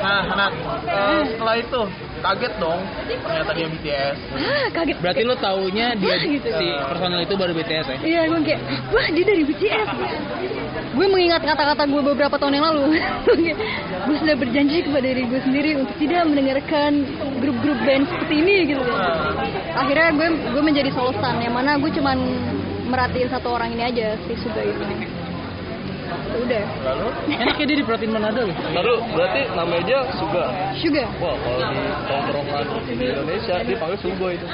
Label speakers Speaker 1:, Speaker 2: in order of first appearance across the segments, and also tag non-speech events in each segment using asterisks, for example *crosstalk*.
Speaker 1: Nah, eh, setelah itu kaget dong ternyata dia BTS.
Speaker 2: Hah, Ah, kaget.
Speaker 3: Berarti lo taunya dia
Speaker 2: Wah, gitu.
Speaker 3: si personel itu baru BTS ya?
Speaker 2: Iya, gue kayak, wah dia dari BTS. Gue mengingat kata-kata gue beberapa tahun yang lalu. *laughs* gue sudah berjanji kepada diri gue sendiri untuk tidak mendengarkan grup-grup band seperti ini gitu.
Speaker 1: Nah,
Speaker 2: Akhirnya gue gue menjadi solo stan yang mana gue cuman merhatiin satu orang ini aja si Suga itu. Udah,
Speaker 1: Lalu
Speaker 3: Enaknya dia di Protein Manado loh.
Speaker 4: Lalu berarti namanya dia Suga.
Speaker 2: Suga.
Speaker 4: Wah, kalau di tongkrongan di Indonesia dipanggil Suga
Speaker 1: *laughs*
Speaker 4: itu.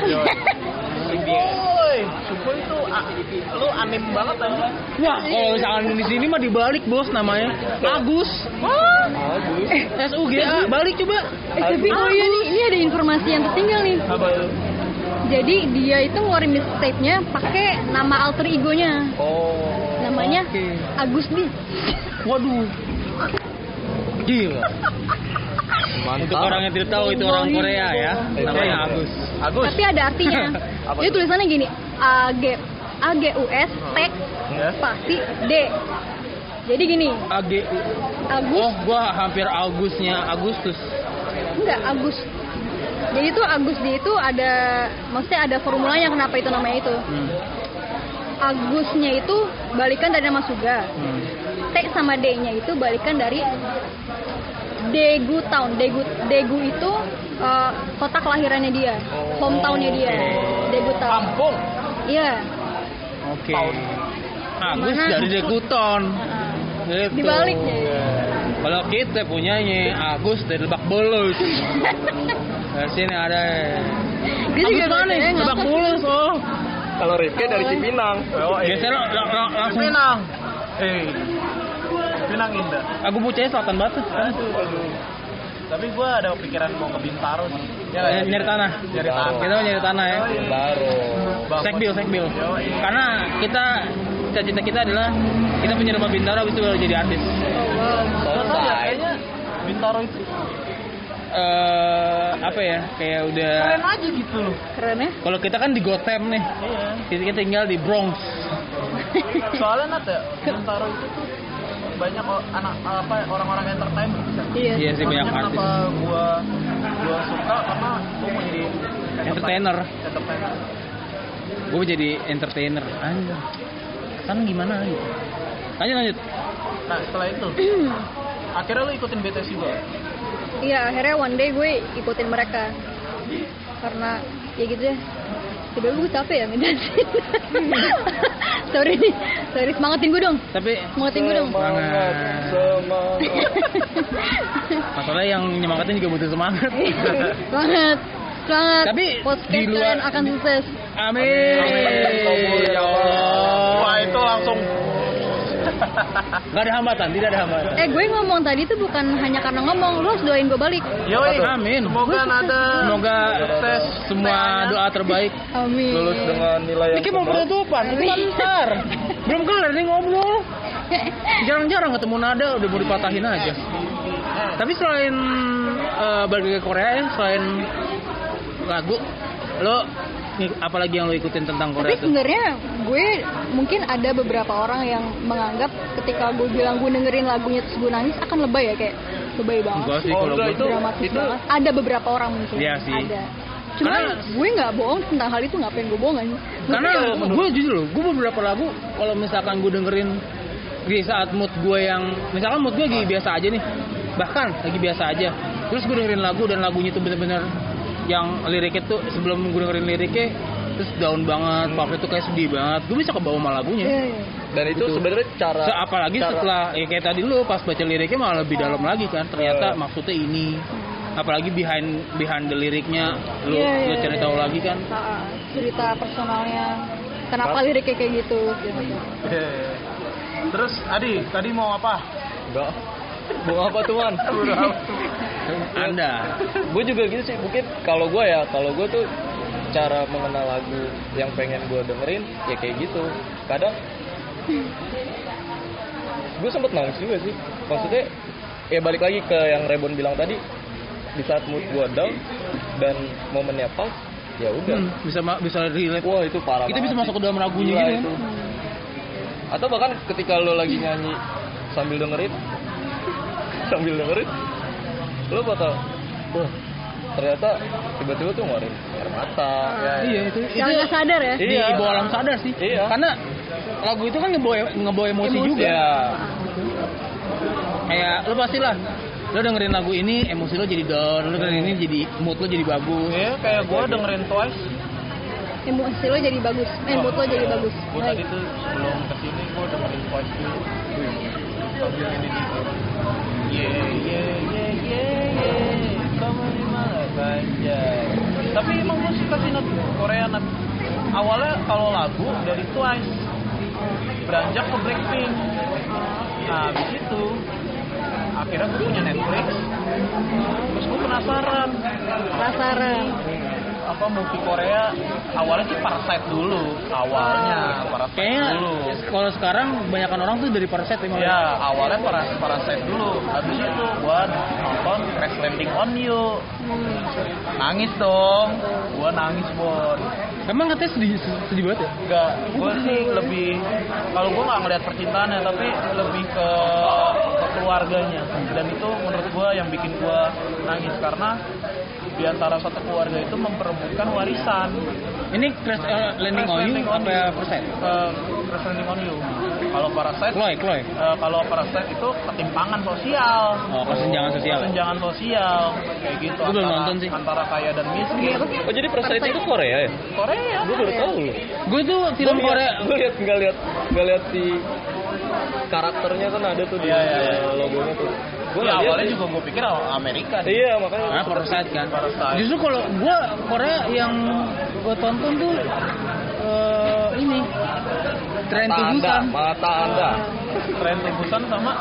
Speaker 1: Woi, Suko itu a- lu anim banget anjing.
Speaker 3: Wah, kalau eh, misalkan di sini mah dibalik bos namanya. Agus.
Speaker 4: Bagus.
Speaker 3: SUGA balik coba.
Speaker 2: Eh, tapi oh iya nih, ini ada informasi yang tertinggal nih.
Speaker 1: Apa itu?
Speaker 2: Jadi dia itu ngeluarin di state-nya pakai nama alter egonya.
Speaker 4: Oh.
Speaker 2: Namanya
Speaker 3: Oke.
Speaker 2: Agus Bis.
Speaker 3: Waduh. Gila. Untuk
Speaker 4: Mantap. Eh,
Speaker 3: orang yang tidak tahu itu orang Korea ya. Namanya Agus.
Speaker 1: Agus.
Speaker 2: Tapi ada
Speaker 3: *laughs*
Speaker 2: artinya.
Speaker 1: Apa
Speaker 2: Jadi
Speaker 1: tuh?
Speaker 2: tulisannya gini, A G A G U S T
Speaker 1: Ya.
Speaker 2: pasti D. Jadi gini,
Speaker 3: AGU.
Speaker 2: Agus
Speaker 3: Oh, gua hampir Agusnya Agustus.
Speaker 2: enggak Agus. Jadi itu Agus dia itu ada maksudnya ada formulanya kenapa itu namanya itu.
Speaker 3: Hmm.
Speaker 2: Agusnya itu balikan dari nama Suga.
Speaker 3: Hmm.
Speaker 2: T sama D-nya itu balikan dari Daegu Town. Daegu, Daegu itu eh, kota kelahirannya dia, hometownnya dia,
Speaker 3: Oh.
Speaker 2: Daegu Town.
Speaker 1: Kampung.
Speaker 2: Iya.
Speaker 3: Oke. Agus
Speaker 2: Mana?
Speaker 3: dari Dekuton. Gitu.
Speaker 2: Dibaliknya.
Speaker 3: Kalau kita punyanya Agus dari Lebak Bulus. Di sini ada.
Speaker 2: Dia juga
Speaker 3: Agus mana?
Speaker 2: bacanya nggak
Speaker 3: Lebak
Speaker 2: tahu.
Speaker 3: Bulus oh.
Speaker 4: Kalau Rifke dari Cipinang.
Speaker 1: Oh, eh.
Speaker 3: Biasanya lo- lo- lo- langsung
Speaker 1: Pinang. Eh. Pinang indah.
Speaker 3: Aku pucanya selatan banget. kan? tuh.
Speaker 1: Aduh, aduh. Tapi gue ada pikiran mau ke Bintaro sih. Ya, ya.
Speaker 3: Eh, nyari tanah.
Speaker 1: Nyari tanah. Oh, iya.
Speaker 3: Kita mau nyari tanah ya.
Speaker 4: Baru.
Speaker 1: Bangun. iya.
Speaker 3: Sekbil, sekbil.
Speaker 1: Yoi.
Speaker 3: Karena kita cita-cita kita adalah kita punya rumah bintaro habis itu baru jadi artis.
Speaker 1: Gak tau ya,
Speaker 4: Selesai.
Speaker 1: kayaknya Bintaro itu
Speaker 3: Eh apa ya? Kayak udah
Speaker 1: keren aja gitu loh.
Speaker 2: Keren
Speaker 3: *laughs*
Speaker 2: ya.
Speaker 3: kalau kita kan di Gotham nih.
Speaker 1: Iya.
Speaker 3: Kita tinggal di Bronx.
Speaker 1: Soalnya Nat ya, Bintaro itu tuh banyak o- anak apa orang-orang entertainment di sana.
Speaker 2: Iya.
Speaker 3: Iya sih banyak
Speaker 1: Makanya
Speaker 3: artis.
Speaker 1: Kenapa gua gua suka karena gua mau jadi
Speaker 3: Entertainer.
Speaker 1: Entertainer.
Speaker 3: Gue jadi entertainer. Anjir. Kan gimana gitu. Lanjut lanjut.
Speaker 1: Nah setelah itu akhirnya lu ikutin BTS juga.
Speaker 2: Hmm. Iya, akhirnya one day gue ikutin mereka. Karena ya gitu deh. Tiba gue capek ya ngedansin. *laughs* sorry nih, sorry semangatin gue dong.
Speaker 3: Tapi
Speaker 2: Semangatin gue
Speaker 3: *laughs*
Speaker 2: dong.
Speaker 4: Semangat, semangat.
Speaker 3: masalahnya yang nyemangatin juga butuh semangat.
Speaker 2: Semangat. Semangat.
Speaker 3: Tapi
Speaker 2: podcast
Speaker 3: di luar-
Speaker 2: kalian akan sukses.
Speaker 3: Amin.
Speaker 4: Amin.
Speaker 3: Ya Allah.
Speaker 1: Wah itu langsung
Speaker 3: Gak ada hambatan, tidak ada hambatan.
Speaker 2: Eh gue ngomong tadi tuh bukan hanya karena ngomong, lu harus doain gue balik.
Speaker 1: Yoi,
Speaker 3: Amin.
Speaker 1: Semoga nada.
Speaker 3: Semoga
Speaker 1: sukses.
Speaker 3: semua doa terbaik
Speaker 2: Amin.
Speaker 4: Lulus dengan nilai yang
Speaker 3: Ini mau
Speaker 4: terbaik.
Speaker 3: penutupan, itu kan ntar Belum kelar nih ngobrol
Speaker 2: *laughs*
Speaker 3: Jarang-jarang ketemu nada udah mau dipatahin aja Tapi selain eh, balik ke Korea ya, selain lagu Lo ng- apalagi yang lo ikutin tentang
Speaker 2: Tapi
Speaker 3: Korea tuh?
Speaker 2: sebenarnya gue mungkin ada beberapa orang yang menganggap ketika gue bilang gue dengerin lagunya terus gue nangis akan lebay ya kayak lebay banget.
Speaker 3: Enggak sih
Speaker 4: Oh,
Speaker 3: kalau
Speaker 4: enggak,
Speaker 3: gue
Speaker 4: itu-
Speaker 2: dramatis
Speaker 4: itu-
Speaker 2: banget. Ada beberapa orang mungkin.
Speaker 3: Iya sih.
Speaker 2: Ada. Cuman
Speaker 3: Karena-
Speaker 2: gue nggak bohong tentang hal itu ngapain gue bohongan.
Speaker 3: karena
Speaker 2: Iya,
Speaker 3: gue jujur loh, gue beberapa lagu kalau misalkan gue dengerin di saat mood gue yang misalkan mood gue lagi biasa aja nih bahkan lagi biasa aja terus gue dengerin lagu dan lagunya tuh bener-bener yang liriknya tuh sebelum gue dengerin liriknya terus down banget waktu itu kayak sedih banget gue bisa kebawa sama lagunya
Speaker 2: Hmm. Iya, iya.
Speaker 4: Dan itu sebenarnya cara
Speaker 3: Se- apalagi
Speaker 4: cara-
Speaker 3: setelah ya kayak tadi lu pas baca liriknya malah lebih dalam
Speaker 2: Ah.
Speaker 3: lagi kan ternyata
Speaker 2: Iya.
Speaker 4: Eh.
Speaker 3: maksudnya ini apalagi behind behind the liriknya lu
Speaker 2: Iya, iya,
Speaker 3: lu cari
Speaker 2: iya.
Speaker 3: tahu lagi kan
Speaker 2: Ah, cerita personalnya. Kenapa
Speaker 4: Mas-
Speaker 2: liriknya kayak gitu? gitu.
Speaker 1: Iya. Terus Adi, tadi mau apa?
Speaker 4: Enggak. Mau apa tuan?
Speaker 3: *laughs* anda
Speaker 4: gue juga gitu sih mungkin kalau gue ya kalau gue tuh cara mengenal lagu yang pengen gue dengerin ya kayak gitu kadang gue sempet nangis juga sih maksudnya ya balik lagi ke yang Rebon bilang tadi di saat mood gue down dan momennya pas ya udah
Speaker 3: Hmm, bisa ma- bisa relate
Speaker 4: wah itu parah
Speaker 3: kita bisa
Speaker 4: banget sih.
Speaker 3: masuk ke dalam lagunya
Speaker 4: Gila
Speaker 3: gitu ya.
Speaker 4: itu.
Speaker 2: Hmm.
Speaker 4: atau bahkan *laughs* ketika lo lagi nyanyi sambil dengerin sambil dengerin lo bakal wah ternyata tiba-tiba tuh ngeluarin air mata ya,
Speaker 3: iya itu
Speaker 2: Yang
Speaker 3: itu
Speaker 2: nggak sadar ya.
Speaker 3: di
Speaker 4: Iya.
Speaker 3: bawah alam sadar sih
Speaker 4: Iya.
Speaker 3: karena lagu itu kan ngebawa ngebawa emosi,
Speaker 4: Emosi.
Speaker 3: juga
Speaker 4: Iya.
Speaker 3: kayak lo pastilah lo dengerin lagu ini emosi lo jadi down lo dengerin ini jadi mood lo jadi bagus
Speaker 1: Iya, kayak gue dengerin Twice.
Speaker 2: Emosi lo jadi bagus, eh, mood lo jadi bagus.
Speaker 1: Gue
Speaker 2: Baik.
Speaker 1: tadi tuh sebelum kesini gue dengerin Twice dulu. Lagu yang ini gitu. Yeah, yeah, yeah, yeah, yeah. Kamu di mana saja. Tapi emang gue suka sih Nat, Korea Nat. Awalnya kalau lagu dari Twice beranjak ke Blackpink. Nah, habis itu akhirnya gue punya Netflix. Terus gue penasaran
Speaker 2: Penasaran.
Speaker 1: apa movie Korea awalnya sih Parasite dulu awalnya Parasite
Speaker 3: kayaknya
Speaker 1: dulu
Speaker 3: kalau sekarang kebanyakan orang tuh dari Parasite emang
Speaker 1: ya awalnya Paras Parasite dulu habis itu gua nonton Crash Landing on You
Speaker 2: Hmm.
Speaker 1: nangis dong gua nangis bon
Speaker 3: emang katanya sedih sedih banget ya
Speaker 1: enggak gua sih lebih kalau gua nggak ngeliat percintaannya tapi lebih ke, ke keluarganya dan itu menurut gua yang bikin gua nangis karena di antara satu keluarga itu memperebutkan warisan
Speaker 3: ini Crash eh, Landing on
Speaker 1: Crash
Speaker 3: You
Speaker 1: Landing on
Speaker 3: apa
Speaker 1: You.
Speaker 3: Parasite
Speaker 1: Eh, Crash Landing on You. Kalau Parasite,
Speaker 3: Chloe Chloe
Speaker 1: eh, kalau Parasite itu ketimpangan sosial.
Speaker 3: Oh, kesenjangan sosial.
Speaker 1: Kesenjangan sosial kayak gitu.
Speaker 3: Gua belum
Speaker 1: antara-
Speaker 3: nonton sih.
Speaker 1: Antara kaya dan miskin.
Speaker 4: oh jadi Parasite itu Korea ya
Speaker 1: Korea.
Speaker 4: gue baru tahu loh
Speaker 3: gue tuh film Korea
Speaker 4: gue lihat nggak lihat nggak lihat si karakternya kan ada tuh di
Speaker 1: Iya, iya, iya.
Speaker 4: logonya tuh gue
Speaker 1: Ya, awalnya juga gue pikir oh, Amerika. deh.
Speaker 4: iya makanya
Speaker 3: Ah, Parasite kan.
Speaker 1: Parasite.
Speaker 3: Justru kalau gua Korea yang gua tonton tuh eh, ini tren
Speaker 4: mata anda
Speaker 3: tubusan.
Speaker 4: mata anda
Speaker 1: Tren tubusan sama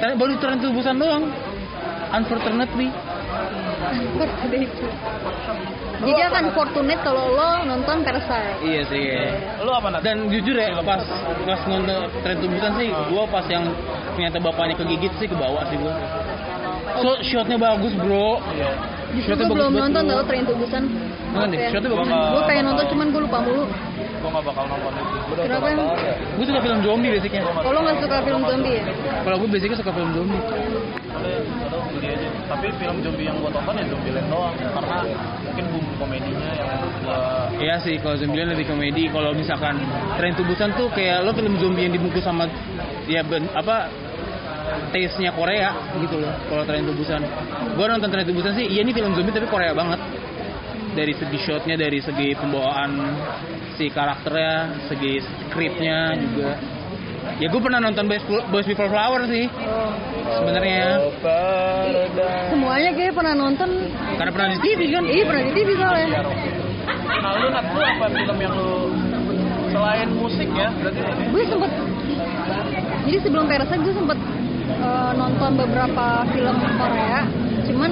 Speaker 3: Tren- baru tren tubusan doang. Unfortunately.
Speaker 2: Seperti itu. Jadi akan fortunate kalau lo nonton Parasite.
Speaker 3: Iya sih.
Speaker 1: lu apa nanti?
Speaker 3: Dan jujur ya pas pas nonton tren tubusan sih, gua pas yang ternyata bapaknya kegigit sih ke bawah sih gua. So, shotnya bagus bro.
Speaker 1: Iya.
Speaker 2: Justru
Speaker 3: Ternyata
Speaker 2: gue belum
Speaker 3: bagus banget
Speaker 2: nonton
Speaker 3: lu.
Speaker 2: tau Train to Busan.
Speaker 3: Nonton deh, shotnya bagus.
Speaker 1: Gua nggak-
Speaker 2: Gue pengen nonton cuman gue lupa mulu.
Speaker 1: Gue gak bakal nonton itu.
Speaker 2: Kenapa
Speaker 4: mata
Speaker 2: emang?
Speaker 4: anda
Speaker 3: Gua suka film zombie basicnya.
Speaker 2: Kalau lo Oh, nggak suka film zombie ya?
Speaker 3: Kalau gua basicnya suka film zombie.
Speaker 1: Boleh, atau beli aja. Tapi film zombie yang gue tonton ya Zombieland doang. Karena mungkin bumbu komedinya yang gue
Speaker 3: Iya sih, kalau zombie lebih komedi. Kalau misalkan tren tubusan tuh kayak lo film zombie yang dibungkus sama ya ben- apa taste-nya Korea gitu loh. Kalau tren tubusan, gua nonton tren tubusan sih, iya ini film zombie tapi Korea banget. Dari segi shotnya, dari segi pembawaan si karakternya, segi scriptnya juga. Ya gue pernah nonton Boys, Boys Before Flower sih sebenarnya.
Speaker 4: Oh, paradise.
Speaker 2: Semuanya kayak pernah nonton.
Speaker 3: Karena pernah di TV kan?
Speaker 2: Iya pernah di TV soalnya.
Speaker 1: Nah lu Nat, lu apa film yang lu selain musik ya berarti ini?
Speaker 2: Gue sempet jadi sebelum Parasite gue sempet eh, nonton beberapa film Korea. Cuman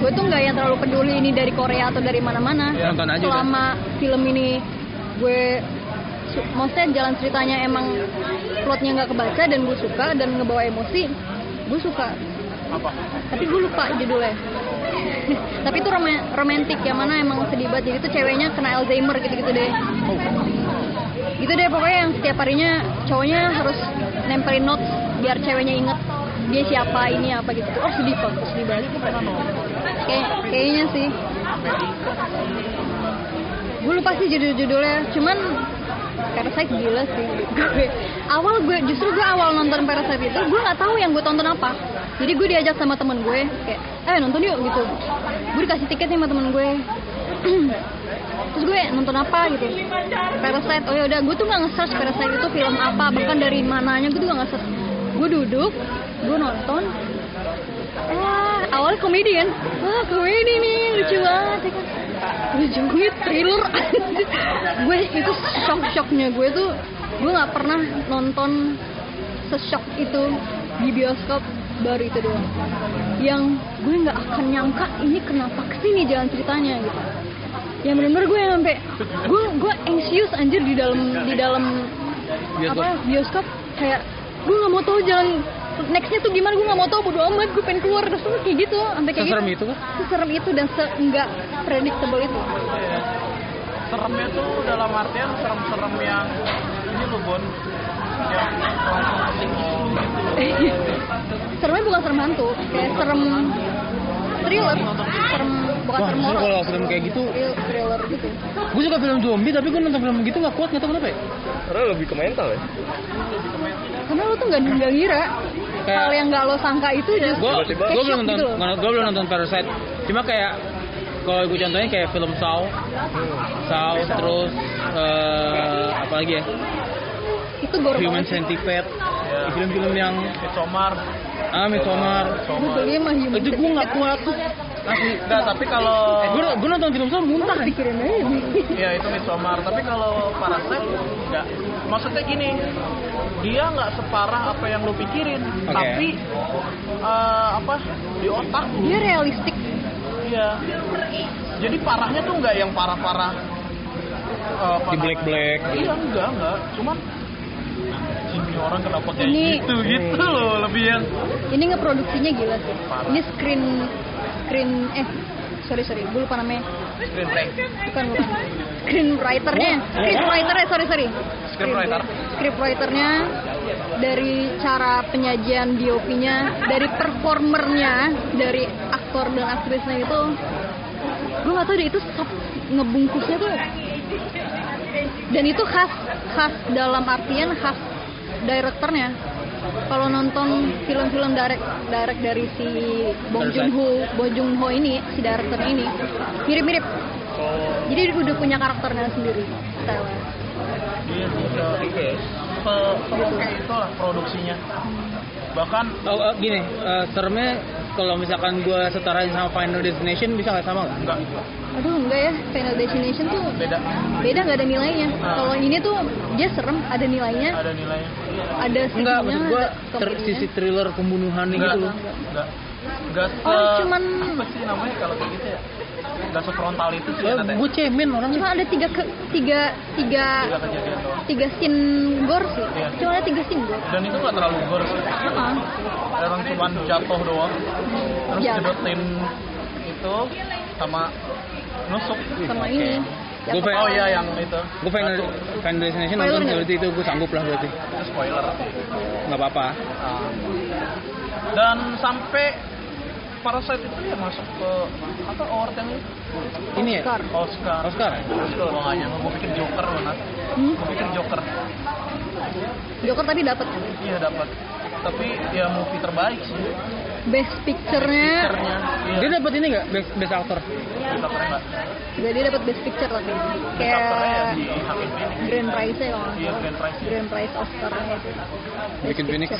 Speaker 2: gue tuh nggak yang terlalu peduli ini dari Korea atau dari mana-mana.
Speaker 3: Ya, nonton aja
Speaker 2: Selama film ini gue su- maksudnya jalan ceritanya emang plotnya nggak kebaca dan gue suka dan ngebawa emosi gue suka
Speaker 1: apa?
Speaker 2: tapi gue lupa judulnya *laughs* tapi itu roma- romantis yang mana emang sedih banget jadi tuh ceweknya kena Alzheimer gitu-gitu deh gitu deh pokoknya yang setiap harinya cowoknya harus nempelin notes biar ceweknya inget dia siapa ini apa gitu oh sedih kok sedih banget Kayak, kayaknya sih gue lupa sih judul-judulnya cuman Parasite gila sih gue awal gue justru gue awal nonton Parasite itu gue nggak tahu yang gue tonton apa jadi gue diajak sama temen gue kayak eh nonton yuk gitu gue dikasih tiket nih sama temen gue terus gue nonton apa gitu Parasite oh ya udah gue tuh nggak nge-search Parasite itu film apa bahkan dari mananya gue tuh nggak nge-search gue duduk gue nonton Wah, awal komedi kan? Wah, komedi nih, lucu banget. ya kan? Lucu gue thriller. gue itu shock-shocknya gue tuh, gue nggak pernah nonton seshock itu di bioskop baru itu doang. Yang gue nggak akan nyangka ini kenapa kesini jalan ceritanya gitu. Yang bener-bener gue yang sampai gue gue anxious anjir di dalam di dalam
Speaker 3: Bioskop.
Speaker 2: apa bioskop kayak gue nggak mau tahu jalan nextnya tuh gimana gue nggak mau tahu bodo amat gue pengen keluar terus tuh kayak gitu sampai kayak
Speaker 3: Seserem
Speaker 2: gitu
Speaker 3: itu kan?
Speaker 2: seserem itu dan se enggak predictable itu *laughs*
Speaker 1: ya. Seremnya tuh dalam artian serem-serem yang ini lu Bon yang langsung ke psikis lu gitu.
Speaker 2: seremnya bukan serem hantu kayak serem thriller Serem, bukan
Speaker 3: Wah,
Speaker 2: serem
Speaker 3: justru
Speaker 2: horor.
Speaker 3: kalau film kayak gitu,
Speaker 2: Thrill- thriller gitu
Speaker 3: gue suka film zombie, tapi gue nonton film gitu gak kuat, gak tau kenapa ya.
Speaker 4: Karena lebih ke mental ya.
Speaker 2: karena lo tuh nggak nggak ngira
Speaker 3: Kayak-
Speaker 2: hal yang nggak lo sangka itu just
Speaker 3: Gue
Speaker 4: Tiba-tiba-
Speaker 2: kayak
Speaker 3: gue belum
Speaker 2: shock
Speaker 3: nonton,
Speaker 2: gitu loh.
Speaker 3: gue belum nonton Parasite. Cuma kayak kalau gue contohnya kayak film Saw, Saw, terus eh, apa lagi ya?
Speaker 2: itu gore
Speaker 3: Human
Speaker 2: banget sih.
Speaker 3: Centipede,
Speaker 1: Ya.
Speaker 3: film-film yang
Speaker 1: Somar.
Speaker 3: ah Midsommar.
Speaker 2: Gue belinya iya, mah human
Speaker 3: Itu gue gak kuat tuh. Asli.
Speaker 1: Enggak, tapi
Speaker 2: Eh,
Speaker 1: kalau
Speaker 3: Gue gue nonton film Saw muntah.
Speaker 2: Terus pikirin aja nih. *laughs*
Speaker 1: Ya itu Midsommar, tapi kalau Parasite enggak. Maksudnya gini, dia nggak separah apa yang lu pikirin,
Speaker 3: Oke.
Speaker 1: tapi eh, apa di otak lu.
Speaker 2: dia realistik
Speaker 1: Iya. Jadi parahnya tuh nggak yang parah-parah. eh,
Speaker 3: Di black-black.
Speaker 1: Iya enggak enggak, cuman ini orang kenapa kayak
Speaker 2: Ini-
Speaker 1: gitu gitu loh lebih yang
Speaker 2: ini ngeproduksinya gila sih ini screen screen eh sorry sorry gue lupa namanya
Speaker 1: screenplay.
Speaker 2: bukan bukan screenwriternya scriptwriternya sorry sorry
Speaker 1: Screenwriter.
Speaker 2: scriptwriternya dari cara penyajian DOP-nya dari performernya dari aktor dan aktrisnya itu gue gak tau deh itu sep- ngebungkusnya tuh dan itu khas khas dalam artian khas directornya kalau nonton film-film direct direct dari si Bong
Speaker 3: Parasite.
Speaker 2: Joon Ho Bong Joon Ho ini si directornya ini mirip-mirip jadi udah punya karakternya sendiri style
Speaker 1: Iya sih, se, se, oke itulah produksinya.
Speaker 2: Hmm.
Speaker 1: Bahkan
Speaker 3: Oh, eh, gini, eh, seremnya kalau misalkan gue setarain sama Final Destination bisa nggak sama
Speaker 1: enggak
Speaker 3: nggak?
Speaker 2: aduh enggak ya Final Destination tuh
Speaker 1: beda
Speaker 2: beda nggak ada nilainya
Speaker 1: Ah.
Speaker 2: kalau ini tuh dia serem ada nilainya
Speaker 1: ada nilainya.
Speaker 2: ada
Speaker 3: Enggak,
Speaker 2: sedihnya,
Speaker 3: maksud gue
Speaker 2: ada komedinya.
Speaker 3: sisi thriller pembunuhan
Speaker 1: Enggak,
Speaker 3: gitu loh.
Speaker 1: enggak. Enggak se
Speaker 2: Oh, cuman Iya,
Speaker 1: apa sih namanya kalau kayak gitu ya? Enggak sefrontal itu sih
Speaker 3: Eh,
Speaker 1: katanya.
Speaker 3: gue cemen orangnya.
Speaker 2: cuma ada tiga ke, tiga tiga
Speaker 1: Tiga kejadian doang.
Speaker 2: tiga scene gore sih
Speaker 1: Iya.
Speaker 2: cuma ada tiga scene gore
Speaker 1: Dan itu nggak terlalu gore sih.
Speaker 2: Ah,
Speaker 1: Orang cuman jatuh doang. Terus
Speaker 2: Iya.
Speaker 1: jedotin itu sama nusuk.
Speaker 2: sama ini Ya,
Speaker 3: Gua pengen-
Speaker 1: Oh iya yang itu.
Speaker 3: Gue Final,
Speaker 1: Satu.
Speaker 3: Final Destination
Speaker 2: Spoiler
Speaker 3: nonton
Speaker 2: nggak?
Speaker 3: berarti itu gue sanggup lah berarti.
Speaker 1: Itu spoiler.
Speaker 3: Nggak apa-apa.
Speaker 1: Nah. Dan sampai Parasite itu ya masuk ke apa award yang ini?
Speaker 3: Ini ya.
Speaker 2: Oscar
Speaker 1: Oscar.
Speaker 3: Oscar. ya?
Speaker 1: Oscar. Gua nggak nyangka, gua pikir Joker loh, Nat.
Speaker 2: Hmm,
Speaker 1: Gua pikir Joker.
Speaker 2: Joker tadi dapat
Speaker 1: Iya dapat. Tapi ya movie terbaik sih.
Speaker 2: best picture-nya
Speaker 1: Picture-nya. Iya.
Speaker 3: Dia dapat ini nggak best, best actor?
Speaker 1: Bisa keren nggak?
Speaker 2: jadi dapat best picture tapi
Speaker 1: Karakternya ya
Speaker 2: kayak
Speaker 1: si Hakim Phoenix.
Speaker 2: grand prize ya kalau nggak
Speaker 1: Iya,
Speaker 2: salah.
Speaker 1: Grand Prize.
Speaker 2: grand prize Oscar
Speaker 3: Bikin Phoenix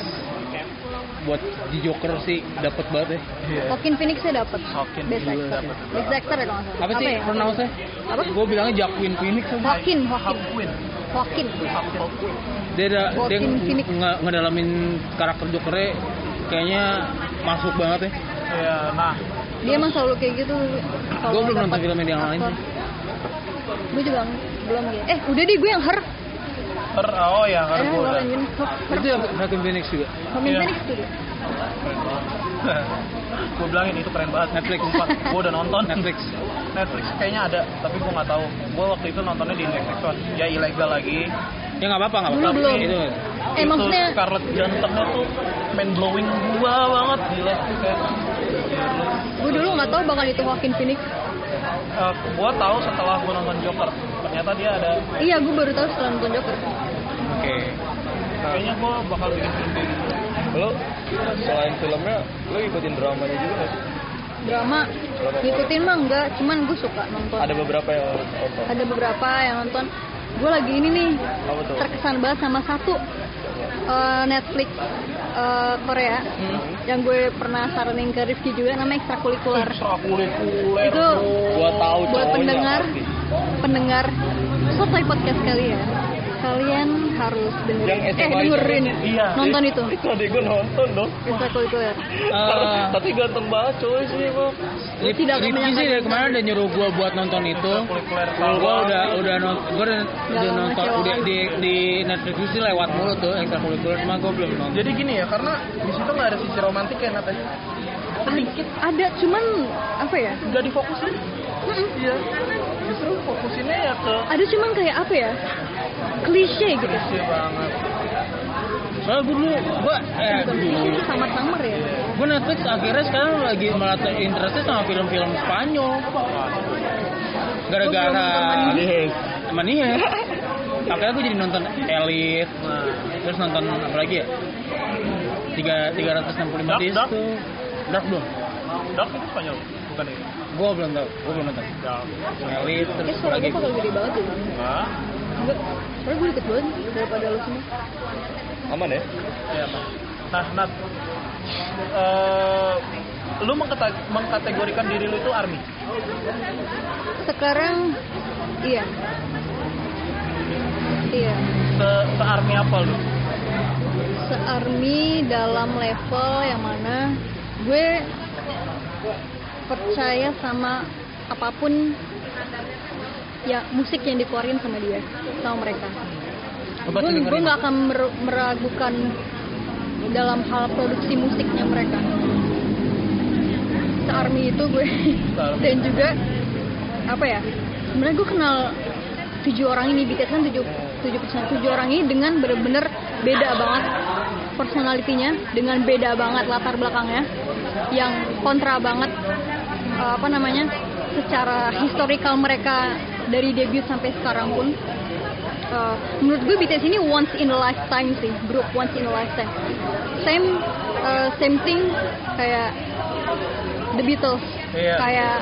Speaker 3: buat di Joker sih dapat banget ya.
Speaker 1: Iya.
Speaker 2: Joaquin Phoenix saya dapat
Speaker 1: Hawking
Speaker 2: best
Speaker 1: juga
Speaker 2: actor
Speaker 1: dapet.
Speaker 2: best actor ya kalau nggak salah
Speaker 3: Apa sih
Speaker 2: ya?
Speaker 3: pronounce-nya?
Speaker 2: apa
Speaker 3: Gue bilangnya Joaquin Phoenix. aja.
Speaker 2: Joaquin Joaquin
Speaker 1: Hawkwin.
Speaker 2: Joaquin
Speaker 1: Hawkwin.
Speaker 3: Dia ada, dia
Speaker 2: Joaquin Phoenix.
Speaker 3: nge- ngedalamin karakter Jokernya kayaknya masuk banget ya.
Speaker 1: Iya, nah.
Speaker 2: dia emang selalu kayak gitu
Speaker 3: Gua belum nonton filmnya dia yang lain sih.
Speaker 2: gue juga belum ya eh udah deh gue yang her
Speaker 1: Her, oh ya,
Speaker 2: eh
Speaker 1: her
Speaker 2: gue
Speaker 1: gue udah. *laughs*
Speaker 2: lanjutin her her
Speaker 3: Itu ya? Joaquin Phoenix juga.
Speaker 2: Joaquin
Speaker 1: Iya.
Speaker 2: Phoenix tuh ya? dia.
Speaker 1: gue bilangin itu keren banget
Speaker 3: Netflix.
Speaker 1: gue udah nonton
Speaker 3: Netflix.
Speaker 1: Netflix kayaknya ada tapi gue nggak tahu gue waktu itu nontonnya di Netflix One. ya ilegal lagi
Speaker 3: Ya nggak apa-apa, gitu. nggak
Speaker 2: Dulu
Speaker 3: apa-apa.
Speaker 2: belum.
Speaker 3: Itu.
Speaker 2: eh
Speaker 1: Itu
Speaker 2: maksudnya
Speaker 1: Scarlett Johansson tuh main blowing gua banget gila kayak
Speaker 2: gue dulu nggak tahu bakal itu Joaquin Phoenix
Speaker 1: eh, gua tahu setelah gua nonton Joker ternyata dia ada
Speaker 2: iya gue baru tahu setelah nonton Joker
Speaker 3: Oke.
Speaker 1: kayaknya gua bakal bikin film kayak gitu
Speaker 4: Lo selain filmnya, lo ikutin dramanya juga nggak sih?
Speaker 2: drama ngikutin mah enggak cuman gue suka nonton
Speaker 4: Ada beberapa yang lo tonton.
Speaker 2: ada beberapa yang nonton gue lagi ini nih
Speaker 4: Apa tuh?
Speaker 2: terkesan banget sama satu eh, Netflix eh, Korea
Speaker 4: Hmm.
Speaker 2: yang gue pernah saranin ke Rifki juga namanya
Speaker 4: *laughs*
Speaker 2: ekstrakurikuler
Speaker 1: ekstrakurikuler
Speaker 2: itu
Speaker 4: Gua tahu
Speaker 2: buat
Speaker 4: cowoknya
Speaker 2: pendengar
Speaker 4: pasti.
Speaker 2: pendengar selesai podcast kalian kalian harus dengerin
Speaker 4: Yang
Speaker 2: eh
Speaker 4: SMA
Speaker 2: dengerin
Speaker 4: itu.
Speaker 1: Iya.
Speaker 2: nonton itu
Speaker 4: Itu adik gue nonton dong.
Speaker 2: ekstrakurikuler
Speaker 3: Eh,
Speaker 4: Tapi ganteng banget cowoknya sih emang.
Speaker 3: Rif-
Speaker 2: Tidak
Speaker 3: Rifki
Speaker 2: kebanyakan
Speaker 3: sih dari
Speaker 2: nonton.
Speaker 3: kemarin udah nyuruh gua buat nonton itu.
Speaker 1: Ekstrakurikuler
Speaker 3: Kalau gua
Speaker 1: Taiwan.
Speaker 3: udah udah nonton, gua udah, udah
Speaker 2: Jangan
Speaker 3: nonton
Speaker 2: mengecewakan.
Speaker 3: udah di di Netflix sih lewat mulu tuh ekstrakurikuler cuma gua belum nonton.
Speaker 1: jadi gini ya karena di situ nggak ada sisi romantik ya Natanya
Speaker 2: ada cuman apa ya
Speaker 1: nggak difokusin
Speaker 2: Mm-mm.
Speaker 1: iya justru fokusinnya ya ke
Speaker 2: ada cuman kayak apa ya klise gitu
Speaker 1: Iya banget
Speaker 3: Soalnya gua dulu gua eh
Speaker 2: bukan
Speaker 3: dulu.
Speaker 2: klise sih samar-samar ya
Speaker 3: gue Netflix akhirnya sekarang lagi melatih interestnya sama film-film Spanyol gara-gara
Speaker 4: Yes.
Speaker 3: Manihes akhirnya gue jadi nonton Elite terus nonton apa lagi ya tiga tiga ratus enam puluh lima
Speaker 1: Dark, Dark.
Speaker 3: Dark belum
Speaker 1: Dark itu Spanyol, bukan ya? ini.
Speaker 3: gue belum tau gue belum nonton
Speaker 1: Dark.
Speaker 3: Elite
Speaker 2: Kayak
Speaker 3: terus apa
Speaker 2: suara
Speaker 3: lagi
Speaker 2: gue bakal gede banget ya.
Speaker 1: Hah?
Speaker 2: Enggak, soalnya gue deket banget daripada lo semua.
Speaker 4: Aman ya?
Speaker 1: Ya, Mas. Nah, Nat. Eh, lu mengkata- mengkategorikan diri lu itu army.
Speaker 2: Sekarang, iya. Iya,
Speaker 1: Se, se army apa lu?
Speaker 2: searmy dalam level yang mana gue percaya sama apapun ya musik yang dikeluarin sama dia sama mereka
Speaker 3: Lu
Speaker 2: gue
Speaker 3: pasti
Speaker 2: gue
Speaker 3: dengerin
Speaker 2: nggak akan mer- meragukan dalam hal produksi musiknya mereka searmy itu gue
Speaker 1: Se-army.
Speaker 2: dan juga apa ya sebenarnya gue kenal tujuh orang ini BTS kan tujuh tujuh persen- tujuh orang ini dengan bener-bener beda banget personalitinya dengan beda banget latar belakangnya yang kontra banget eh, apa namanya secara historical mereka dari debut sampai sekarang pun Eh, menurut gue BTS ini once in a lifetime sih grup once in a lifetime same eh, same thing kayak The Beatles
Speaker 1: Iya.
Speaker 2: kayak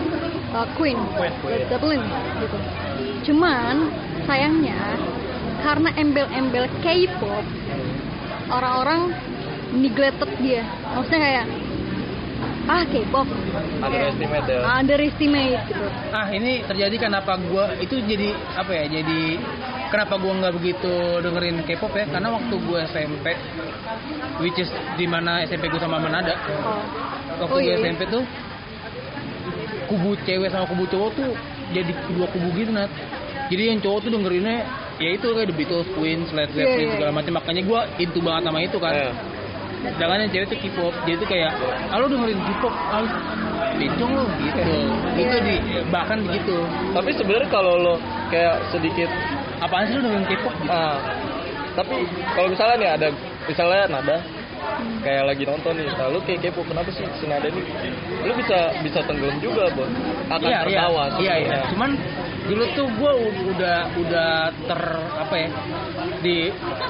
Speaker 2: eh, Queen,
Speaker 1: Queen,
Speaker 2: Led Zeppelin gitu cuman sayangnya karena embel-embel K-pop orang-orang neglected dia maksudnya kayak ah K-pop Kayak
Speaker 4: Underestimate ya.
Speaker 2: underestimate gitu
Speaker 3: ah ini terjadi kenapa gue itu jadi apa ya jadi kenapa gue nggak begitu dengerin K-pop ya karena waktu gue SMP which is dimana SMP gue sama Manada
Speaker 2: oh.
Speaker 3: waktu
Speaker 2: Oh,
Speaker 3: gue
Speaker 2: iya, iya.
Speaker 3: SMP tuh kubu cewek sama kubu cowok tuh jadi dua kubu gitu nat jadi yang cowok tuh dengerinnya ya itu kayak The Beatles, Queen, Led
Speaker 2: Iya,
Speaker 3: Zeppelin
Speaker 2: iya.
Speaker 3: segala macam makanya gue into banget sama itu kan
Speaker 4: Nah,
Speaker 3: sedangkan yang cewek tuh K-pop jadi tuh kayak ah, lo dengerin K-pop ah bencong lo gitu itu
Speaker 2: Iya.
Speaker 3: di bahkan begitu
Speaker 4: tapi sebenarnya kalau lo kayak sedikit
Speaker 3: apaan sih lo dengerin K-pop gitu
Speaker 4: ah, tapi kalau misalnya nih ada misalnya nada kayak lagi nonton nih, nah, lu kayak kepo kenapa sih si nada ini? Lu bisa bisa tenggelam juga, bos. Akan tertawa.
Speaker 3: iya iya
Speaker 4: sebenarnya.
Speaker 3: cuman dulu tuh gue udah udah ter apa ya di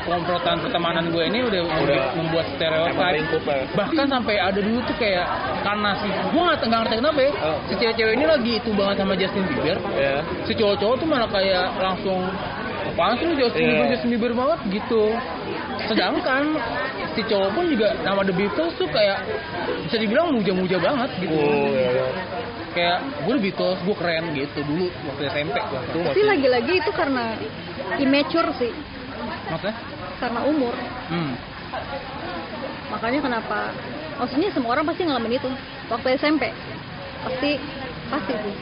Speaker 3: komplotan pertemanan gue ini udah,
Speaker 4: Udah.
Speaker 3: membuat
Speaker 4: Emang
Speaker 3: stereotip
Speaker 4: lingkup ya.
Speaker 3: bahkan sampai ada dulu tuh kayak karena si gue nggak nggak ngerti kenapa ya
Speaker 4: Oh.
Speaker 3: si cewek-cewek ini lagi itu banget sama Justin Bieber
Speaker 4: Ya.
Speaker 3: si cowok-cowok tuh malah kayak langsung apaan sih lu Justin
Speaker 4: Iya.
Speaker 3: Bieber Justin Bieber banget gitu sedangkan si cowok pun juga nama The Beatles tuh kayak bisa dibilang muja-muja banget gitu
Speaker 2: iya,
Speaker 4: Oh, ya, ya.
Speaker 3: kayak gue The Beatles gue keren gitu dulu waktu SMP
Speaker 4: Itu
Speaker 3: waktu
Speaker 2: tapi lagi-lagi itu karena immature sih
Speaker 3: maksudnya
Speaker 2: karena umur
Speaker 3: hmm.
Speaker 2: makanya kenapa maksudnya semua orang pasti ngalamin itu waktu SMP pasti pasti sih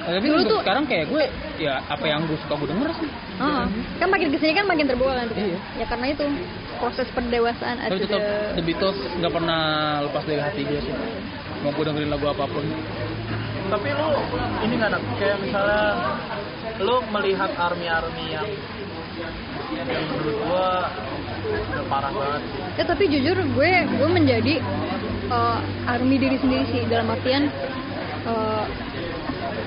Speaker 3: Nah, tapi
Speaker 2: Dulu
Speaker 3: untuk
Speaker 2: tuh-
Speaker 3: sekarang kayak gue ya apa yang gue suka gue denger sih
Speaker 2: Ah, kan makin kesini kan makin terbuka kan
Speaker 3: Iya.
Speaker 2: ya karena itu proses pendewasaan
Speaker 3: tapi
Speaker 2: ada
Speaker 3: tetap The Beatles nggak pernah lepas dari hati gue sih mau gue dengerin lagu apapun
Speaker 1: Tapi lu ini nggak Nat? kayak misalnya lu melihat army-army yang yang menurut gua udah parah banget sih.
Speaker 2: ya tapi jujur gue gue menjadi eh, army diri sendiri sih dalam artian eh,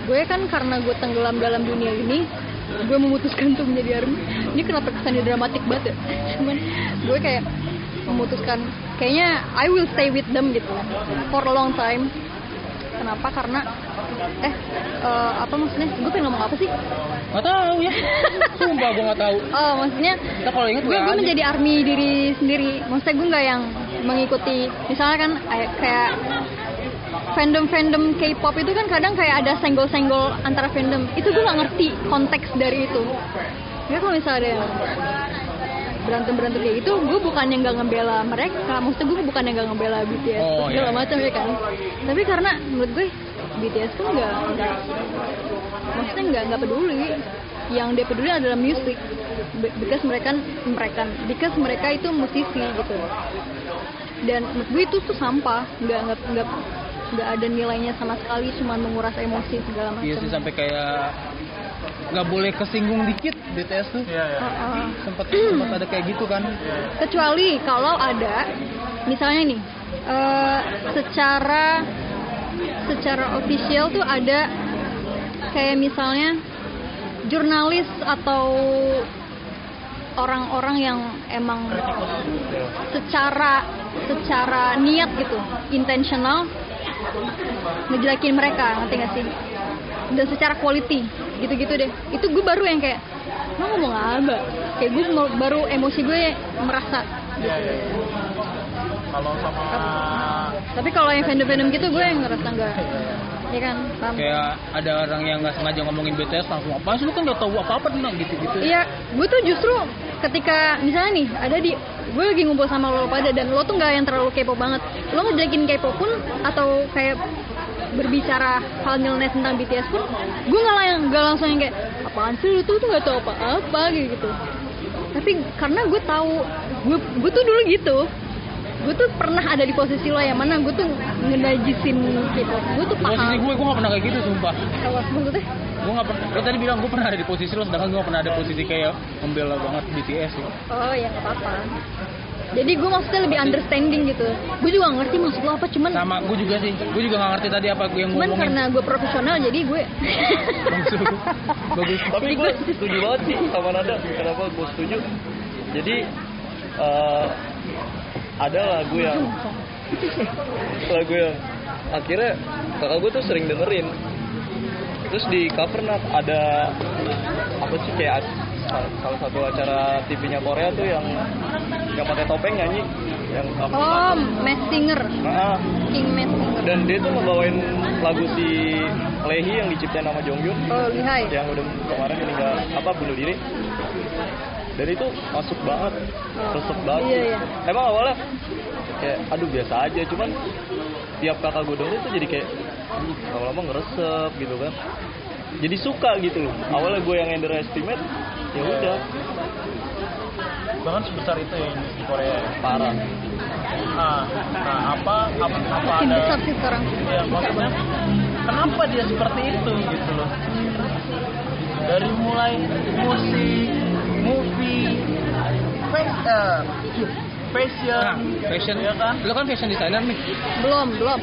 Speaker 2: gue kan karena gue tenggelam dalam dunia ini gue memutuskan untuk menjadi army ini kenapa kesannya dramatik banget ya *laughs* cuman gue kayak memutuskan kayaknya I will stay with them gitu for a long time kenapa karena eh eh, apa maksudnya gue pengen ngomong apa sih
Speaker 3: nggak tahu
Speaker 2: *laughs*
Speaker 3: ya sumpah gue nggak tahu
Speaker 2: oh maksudnya
Speaker 3: kita kalau inget
Speaker 2: gue gue menjadi army diri sendiri maksudnya gue nggak yang mengikuti misalnya kan ay- kayak fandom fandom K-pop itu kan kadang kayak ada senggol senggol antara fandom itu gue nggak ngerti konteks dari itu ya kalau misalnya ada yang berantem berantem kayak gitu gue bukan yang nggak ngebela mereka maksudnya gue bukan yang nggak ngebela BTS
Speaker 3: Oh,
Speaker 2: segala
Speaker 3: iya.
Speaker 2: macam ya kan tapi karena menurut gue BTS tuh nggak nggak- maksudnya nggak nggak peduli yang dia peduli adalah musik Be- because mereka mereka because mereka itu musisi gitu dan menurut gue itu tuh sampah nggak nggak nggak nggak ada nilainya sama sekali cuman menguras emosi segala macam
Speaker 3: Iya sih sampai kayak nggak boleh kesinggung dikit BTS tuh
Speaker 1: Iya, iya.
Speaker 2: Ah, ah.
Speaker 3: sempet sempet ada kayak gitu kan
Speaker 2: kecuali kalau ada misalnya nih eh, secara secara official tuh ada kayak misalnya jurnalis atau orang-orang yang emang secara secara niat gitu intentional ngejelekin mereka ngerti gak sih dan secara quality gitu-gitu deh itu gue baru yang kayak lo ngomong apa kayak gue mau- baru emosi gue merasa
Speaker 1: Iya, iya. Kalau sama
Speaker 2: tapi kalau yang fandom-fandom gitu gue yang ngerasa enggak
Speaker 1: Iya,
Speaker 2: ya kan paham
Speaker 3: kayak ada orang yang nggak sengaja ngomongin BTS langsung apa sih lu kan nggak tahu apa apa tentang gitu gitu
Speaker 2: Iya, gue tuh justru ketika misalnya nih ada di gue lagi ngumpul sama lo pada dan lo tuh nggak yang terlalu kepo banget. Lo ngejelekin kepo pun atau kayak berbicara hal nyeleneh tentang BTS pun, gue nggak lang nggak langsung yang kayak apaan sih lu tuh tuh nggak tahu apa-apa gitu gitu. Tapi karena gue tahu gue gue tuh dulu gitu gue tuh pernah ada di posisi lo yang mana gue tuh ngedajisin gitu gue tuh
Speaker 3: posisi
Speaker 2: paham
Speaker 3: gue gue nggak pernah kayak gitu sumpah
Speaker 2: Apa maksudnya
Speaker 3: gue nggak pernah lo tadi bilang gue pernah ada di posisi lo sedangkan gue nggak pernah ada posisi kayak membela banget BTS ya
Speaker 2: Oh ya nggak apa-apa. Jadi gue maksudnya lebih understanding gitu. Gue juga nggak ngerti maksud lo apa, cuman
Speaker 3: sama gue juga sih gue juga nggak ngerti tadi apa yang gue
Speaker 2: cuman
Speaker 3: ngomongin
Speaker 2: karena gue profesional jadi gue.
Speaker 3: Langsung. bagus
Speaker 4: tapi gue setuju banget sih sama Nada kenapa gue setuju jadi eh, ada lagu yang lagu yang akhirnya kakak gue tuh sering dengerin terus di cover Nat, ada apa sih kayak ac- sal- salah satu acara TV-nya Korea tuh yang yang pakai topeng nyanyi yang cover Nat.
Speaker 2: oh, mass singer,
Speaker 4: Nah,
Speaker 2: king mass singer.
Speaker 4: dan dia tuh ngebawain lagu si Lehi yang diciptain sama Jonghyun
Speaker 2: Oh lihai.
Speaker 4: yang udah kemarin meninggal apa bunuh diri dan itu masuk banget resep banget
Speaker 2: Iya, iya.
Speaker 4: emang awalnya kayak aduh biasa aja cuman tiap kakak gue denger tuh jadi kayak "Aduh, lama-lama ngeresep gitu kan jadi suka gitu loh awalnya gue yang underestimate ya udah
Speaker 1: bahkan sebesar itu ya industri Korea.
Speaker 4: parah
Speaker 1: Nah, nah apa, apa, apa
Speaker 2: Makin
Speaker 1: ada
Speaker 2: besar sih sekarang.
Speaker 1: ya maksudnya kenapa dia seperti itu gitu loh dari mulai musik movie fa- eh, fashion
Speaker 3: Nah, fashion
Speaker 1: ya kan
Speaker 3: lo kan fashion designer nih
Speaker 2: Belum belum.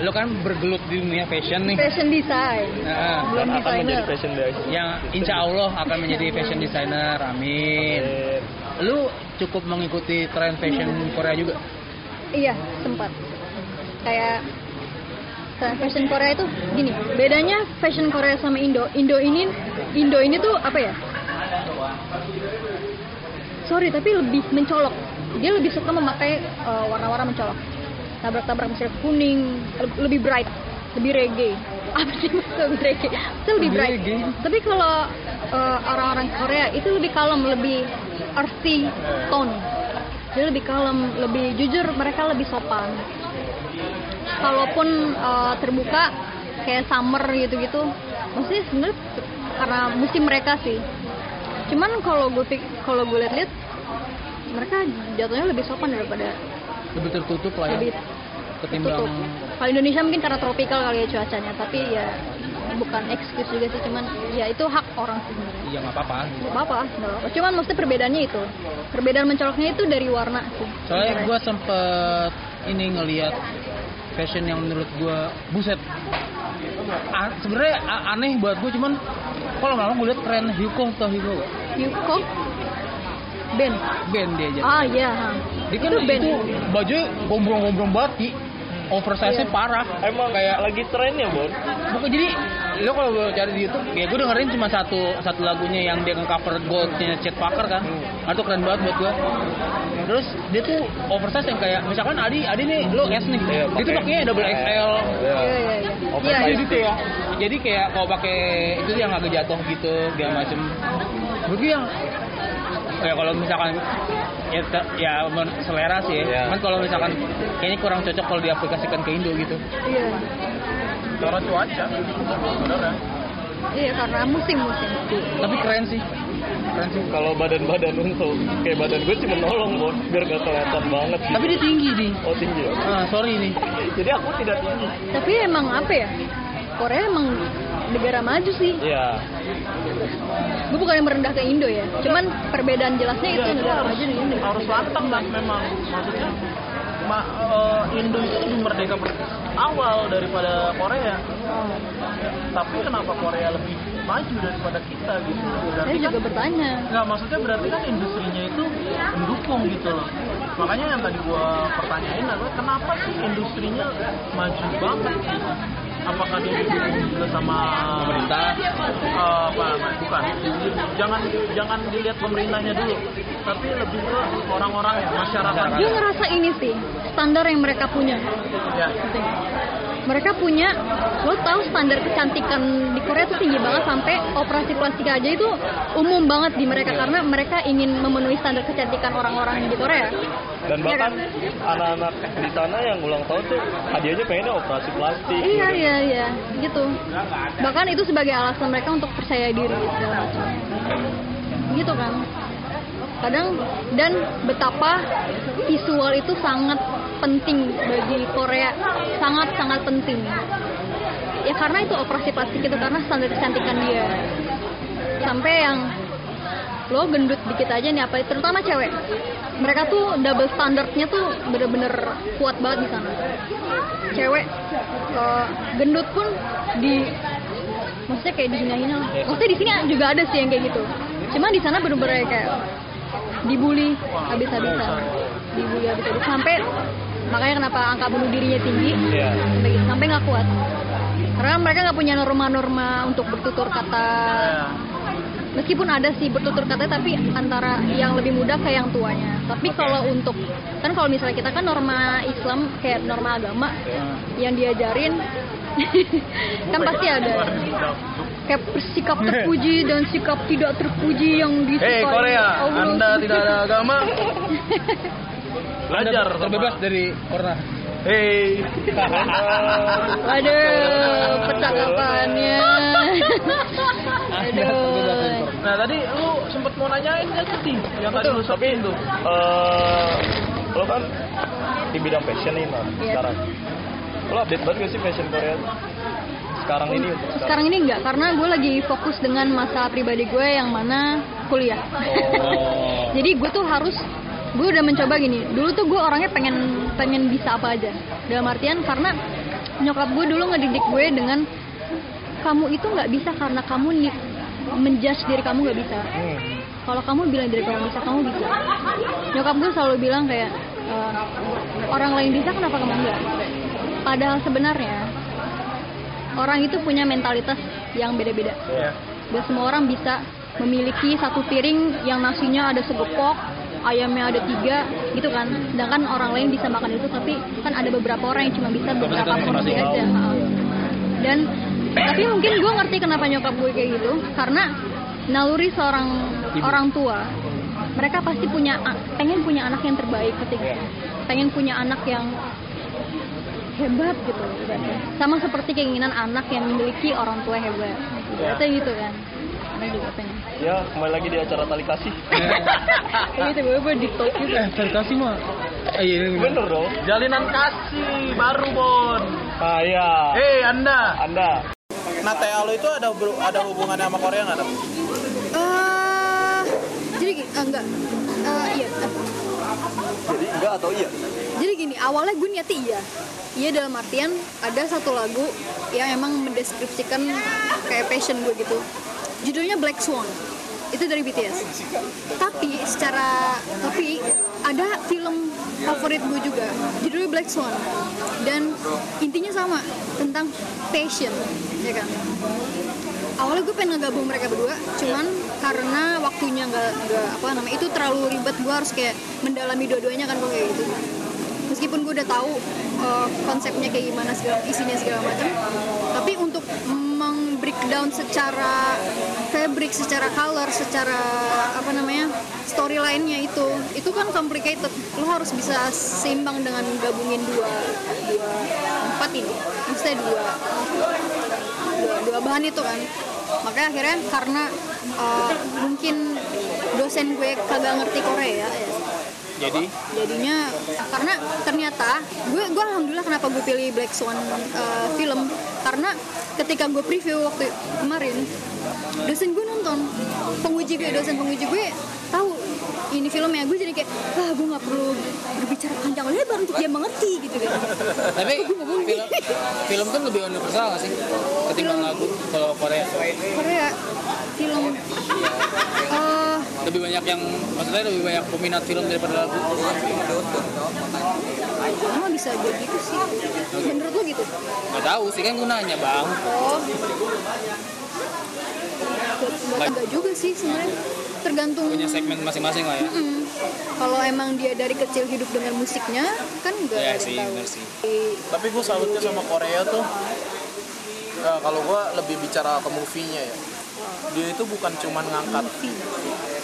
Speaker 3: lo kan bergelut di dunia fashion nih
Speaker 2: Fashion design.
Speaker 3: Nah,
Speaker 4: dan
Speaker 2: Belum
Speaker 4: akan menjadi
Speaker 2: designer.
Speaker 4: fashion designer
Speaker 3: yang insya Allah akan menjadi fashion designer amin
Speaker 4: Eh,
Speaker 3: lu cukup mengikuti tren fashion Korea juga
Speaker 2: Iya sempat. Kayak Nah, fashion Korea itu gini bedanya fashion Korea sama Indo Indo ini Indo ini tuh apa ya sorry tapi lebih mencolok dia lebih suka memakai eh, warna-warna mencolok tabrak-tabrak misalnya kuning le- lebih bright lebih reggae *laughs* apa sih maksudnya lebih reggae itu lebih
Speaker 3: Lebih
Speaker 2: bright
Speaker 3: reggae.
Speaker 2: tapi kalau eh, orang-orang Korea itu lebih kalem lebih earthy tone dia lebih kalem lebih jujur mereka lebih sopan kalaupun eh, terbuka kayak summer gitu-gitu maksudnya sebenarnya karena musim mereka sih cuman kalau gue pik- kalau gue lihat-lihat mereka jatuhnya lebih sopan daripada
Speaker 3: lebih tertutup lah
Speaker 2: lebih
Speaker 3: ya ketimbang
Speaker 2: tutup kalau Indonesia mungkin karena tropikal kali ya cuacanya tapi ya bukan excuse juga sih cuman ya itu hak orang sebenarnya
Speaker 3: ya nggak apa-apa
Speaker 2: nggak apa-apa nggak apa-apa. cuman maksudnya perbedaannya itu perbedaan mencoloknya itu dari warna sih
Speaker 3: soalnya gue sempet ini ngelihat fashion yang menurut gue buset A- sebenarnya a- aneh buat gue cuman kalau lama gue liat tren Hyuko atau Hyuko gak?
Speaker 2: Yuko Ben
Speaker 3: band dia aja
Speaker 2: ah iya ha.
Speaker 3: dia kan
Speaker 2: itu
Speaker 3: itu,
Speaker 2: band
Speaker 3: baju gombrong-gombrong banget Ki. oversize-nya
Speaker 2: Iya.
Speaker 3: parah
Speaker 4: emang kayak lagi trennya bon
Speaker 3: Bukan jadi lo kalau gue cari di YouTube, ya gue dengerin cuma satu satu lagunya yang dia nge-cover goldnya Chet Parker kan.
Speaker 4: Hmm.
Speaker 3: Nah, Itu keren banget buat gue. Terus dia tuh oversize yang kayak misalkan Adi, Adi nih lo S nih.
Speaker 4: Iya,
Speaker 3: dia tuh
Speaker 4: pakai-
Speaker 3: pakainya double XL.
Speaker 4: Iya.
Speaker 2: Iya, iya, iya.
Speaker 4: Oversize.
Speaker 2: Iya,
Speaker 3: Jadi
Speaker 2: iya.
Speaker 3: gitu ya. Jadi kayak kalau pakai itu tuh yang agak jatuh gitu, segala macem. Menurut gue yang ya kalau misalkan ya, te- ya men- selera sih ya.
Speaker 4: Iya.
Speaker 3: Cuman kalau misalkan kayaknya kurang cocok kalau diaplikasikan ke Indo gitu.
Speaker 2: Iya.
Speaker 1: karena cuaca sebenarnya
Speaker 2: Iya, karena musim-musim.
Speaker 3: Tapi keren sih. Keren sih.
Speaker 4: kalau badan-badan untuk kayak badan gue cuma nolong bon biar gak kelihatan banget gitu.
Speaker 3: Tapi dia tinggi di.
Speaker 4: oh tinggi ya?
Speaker 3: Ah, sorry nih.
Speaker 4: jadi aku tidak tinggi
Speaker 2: Tapi emang apa ya? Korea emang negara maju sih.
Speaker 4: Iya.
Speaker 2: Gue bukan yang merendah ke Indo
Speaker 1: Iya,
Speaker 2: ya. Cuman perbedaan jelasnya itu negara maju dan Indo.
Speaker 1: harus lantang lah memang maksudnya ma- eh, Indo itu lebih merdeka per- awal daripada Korea. Tapi kenapa Korea lebih maju daripada kita gitu?
Speaker 2: Saya
Speaker 1: Berarti kan
Speaker 2: juga bertanya.
Speaker 1: Nggak, maksudnya berarti kan industrinya itu mendukung gitu loh. Makanya yang tadi gua pertanyain adalah kenapa sih industrinya maju banget gitu? Apakah dia didukung juga sama
Speaker 3: Pemerintah.
Speaker 1: Eh, apa namanya? Bukan. Jangan jangan dilihat pemerintahnya dulu, tapi lebih ke orang-orang ya, masyarakat.
Speaker 2: Gue ngerasa ini sih standar yang mereka punya.
Speaker 1: Ya.
Speaker 2: Mereka punya, lo tahu standar kecantikan di Korea tuh tinggi banget sampai operasi plastik aja itu umum banget di mereka karena mereka ingin memenuhi standar kecantikan orang-orang di Korea.
Speaker 4: dan
Speaker 2: Iya
Speaker 4: bahkan
Speaker 2: kan?
Speaker 4: anak-anak di sana yang ulang tahun tuh hadiahnya pengennya operasi plastik
Speaker 2: *laughs* Iya
Speaker 4: gitu.
Speaker 2: iya iya gitu. Bahkan itu sebagai alasan mereka untuk percaya diri segala macam. Gitu kan. Kadang dan betapa visual itu sangat penting bagi Korea, sangat sangat penting. Ya karena itu operasi plastik itu karena standar kecantikan dia. Sampai yang lo gendut dikit aja nih apa terutama cewek mereka tuh double standardnya tuh bener-bener kuat banget di sana cewek eh, gendut pun di maksudnya kayak dihina-hina lah maksudnya di sini juga ada sih yang kayak gitu cuma di sana bener-bener ya kayak dibully habis-habisan dibully habis-habisan sampai makanya kenapa angka bunuh dirinya tinggi
Speaker 4: Iya.
Speaker 2: sampai gitu, sampai nggak kuat karena mereka nggak punya norma-norma untuk bertutur kata
Speaker 1: Ya.
Speaker 2: meskipun ada sih bertutur kata tapi antara yang lebih muda ke yang tuanya tapi kalau untuk kan kalau misalnya kita kan norma Islam kayak norma agama yang diajarin *laughs* kan pasti ada kayak bersikap
Speaker 1: *laughs*
Speaker 2: terpuji dan sikap tidak terpuji yang
Speaker 1: Hei
Speaker 2: disukai
Speaker 1: Korea,
Speaker 2: Allah.
Speaker 1: Anda tidak ada
Speaker 2: *laughs*
Speaker 1: agama. Belajar
Speaker 3: Anda
Speaker 1: sama-
Speaker 3: terbebas dari corona.
Speaker 1: Hei.
Speaker 2: waduh percakapannya
Speaker 3: Anda terbebas dari
Speaker 2: aduh
Speaker 3: corona.
Speaker 1: Nah tadi lu sempet mau nanyain kan tadi yang tadi lu
Speaker 4: tapi
Speaker 1: sebutin tuh.
Speaker 4: eh, lo kan di bidang fashion nih Mar,
Speaker 2: Iya.
Speaker 4: sekarang lo update banget gak sih fashion Korea sekarang ini untuk
Speaker 2: sekarang ini enggak karena gue lagi fokus dengan masalah pribadi gue yang mana kuliah
Speaker 4: oh
Speaker 2: *laughs* jadi gue tuh harus gue udah mencoba gini dulu tuh gue orangnya pengen pengen bisa apa aja dalam artian karena nyokap gue dulu ngedidik gue dengan kamu itu nggak bisa karena kamu nih menjudge diri kamu nggak bisa
Speaker 4: Hmm.
Speaker 2: kalau kamu bilang diri kamu bisa kamu bisa nyokap gue selalu bilang kayak e, orang lain bisa kenapa kamu enggak padahal sebenarnya orang itu punya mentalitas yang beda-beda
Speaker 1: Ya.
Speaker 2: dan semua orang bisa memiliki satu piring yang nasinya ada segepok ayamnya ada tiga gitu kan sedangkan orang lain bisa makan itu tapi kan ada beberapa orang yang cuma bisa beberapa porsi aja Ha. dan tapi mungkin gue ngerti kenapa nyokap gue kayak gitu karena naluri seorang orang tua mereka pasti punya pengen punya anak yang terbaik ketika pengen punya anak yang hebat gitu ibaratnya. sama seperti keinginan anak yang memiliki orang tua hebat itu gitu kan Anak juga pengen
Speaker 4: ya kembali lagi di acara tali
Speaker 2: *laughs*
Speaker 4: kasih
Speaker 2: Kayak gitu gue gue di talk gitu
Speaker 3: Eh, terkasih mah. Eh, iya, ini bener.
Speaker 4: bener dong
Speaker 1: Jalinan kasih baru Bon.
Speaker 4: ah ya
Speaker 1: Hei Anda.
Speaker 4: anda
Speaker 1: Nah TA lu itu ada ber- ada hubungannya sama Korea nggak? Dam?
Speaker 2: Ah, jadi gini, ah, enggak Ah, iya ah.
Speaker 4: jadi enggak atau iya
Speaker 2: jadi gini awalnya gue niatnya iya iya dalam artian ada satu lagu yang emang mendeskripsikan kayak passion gue gitu judulnya Black Swan itu dari BTS tapi secara tapi ada film favorit gue juga judulnya Black Swan dan intinya sama tentang passion ya kan awalnya gue pengen ngegabung mereka berdua cuman karena waktunya nggak nggak apa namanya itu terlalu ribet gue harus kayak mendalami dua-duanya kan gue kayak gitu meskipun gue udah tahu uh, konsepnya kayak gimana segala isinya segala macam tapi untuk meng-breakdown secara fabric secara color secara apa namanya storyline-nya itu itu kan complicated lo harus bisa seimbang dengan gabungin dua dua empat ini maksudnya dua dua, dua bahan itu kan makanya akhirnya karena uh, mungkin dosen gue kagak ngerti Korea ya
Speaker 1: Jadi
Speaker 2: jadinya karena ternyata gue gue alhamdulillah kenapa gue pilih Black Swan uh, film karena ketika gue preview waktu kemarin dosen gue nonton penguji gue dosen penguji gue tahu ini film ya gue jadi kayak ah gue nggak perlu berbicara panjang lebar untuk dia mengerti gitu kan
Speaker 3: Tapi film,
Speaker 2: *laughs*
Speaker 3: film kan lebih universal nggak sih ketimbang
Speaker 2: Film.
Speaker 3: lagu kalau Korea.
Speaker 2: Korea film eh
Speaker 3: Lebih banyak yang maksudnya lebih banyak peminat film daripada lagu.
Speaker 2: emang bisa jadi gitu sih dan menurut lo gitu
Speaker 3: Gak tahu sih kan gue nanya bang.
Speaker 2: oh Nggak- nggak juga sih sebenarnya tergantung
Speaker 3: Punya segmen masing-masing lah ya.
Speaker 2: Mm-mm. kalau emang dia dari kecil hidup dengan musiknya kan nggak
Speaker 3: Iya
Speaker 2: ada yang
Speaker 3: sih,
Speaker 2: tahu
Speaker 3: bener sih.
Speaker 2: Di-
Speaker 5: Tapi gue salutnya sama Korea tuh. eh, kalau gue lebih bicara ke movie-nya ya. Dia itu bukan cuman ngangkat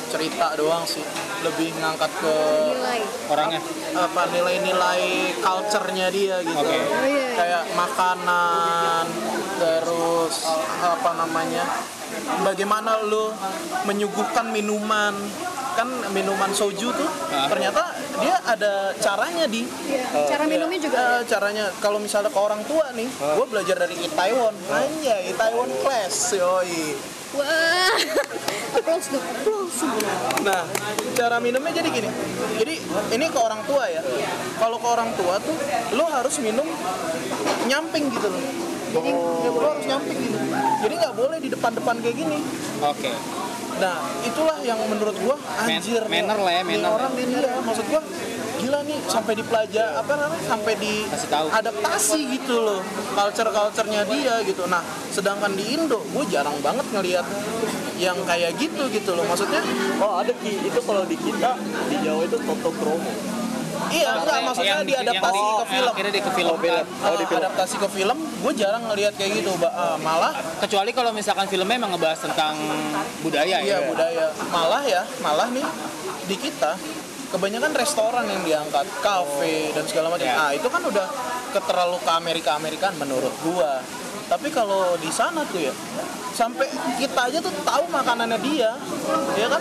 Speaker 5: cerita doang sih, lebih ngangkat ke
Speaker 2: nilai
Speaker 3: Orangnya.
Speaker 5: apa nilai-nilai culture-nya dia gitu.
Speaker 3: Oke.
Speaker 2: oh iya
Speaker 5: kayak makanan terus apa namanya bagaimana lu menyuguhkan minuman kan minuman soju tuh
Speaker 3: Ah.
Speaker 5: ternyata dia ada caranya di
Speaker 2: Iya. cara minumnya juga
Speaker 5: Eh, caranya kalau misalnya ke orang tua nih
Speaker 3: Ah.
Speaker 5: gue belajar dari Itaewon hanya Itaewon class ya. yoi
Speaker 2: wah *laughs* applause dong applause
Speaker 5: Nah, cara minumnya jadi gini. Jadi ini ke orang tua ya. Kalau ke orang tua tuh lo harus minum nyamping gitu loh. Jadi
Speaker 3: Oh.
Speaker 5: lo harus nyamping gitu. Jadi nggak boleh di depan-depan kayak gini.
Speaker 3: Oke.
Speaker 5: Nah, itulah yang menurut gua
Speaker 3: Man-
Speaker 5: anjir. nih-
Speaker 3: manner lah ya,
Speaker 5: nih
Speaker 3: manner.
Speaker 5: orang iya, maksud gua gila nih sampai di pelajar apa namanya sampai di
Speaker 3: Kasih tahu.
Speaker 5: adaptasi gitu loh culture culturenya dia gitu nah sedangkan di Indo gue jarang banget ngelihat yang kayak gitu gitu loh maksudnya
Speaker 6: Oh ada ki itu kalau di kita di Jawa itu toto kromo.
Speaker 5: iya enggak maksudnya
Speaker 3: Yang-
Speaker 5: diadaptasi
Speaker 3: yang-
Speaker 5: ke film
Speaker 3: yang Akhirnya di ke film.
Speaker 5: Ah, adaptasi ke film gue jarang ngelihat kayak gitu Ba- ah, malah
Speaker 3: Kecuali kalau misalkan filmnya emang ngebahas tentang budaya ya.
Speaker 5: Iya budaya. Malah ya, malah nih di kita kebanyakan restoran yang diangkat, kafe dan segala macam.
Speaker 3: Iya.
Speaker 5: Ah itu kan udah keterlalu ke Amerika Amerikaan menurut gua. Tapi kalau di sana tuh ya sampai kita aja tuh tahu makanannya dia, ya kan?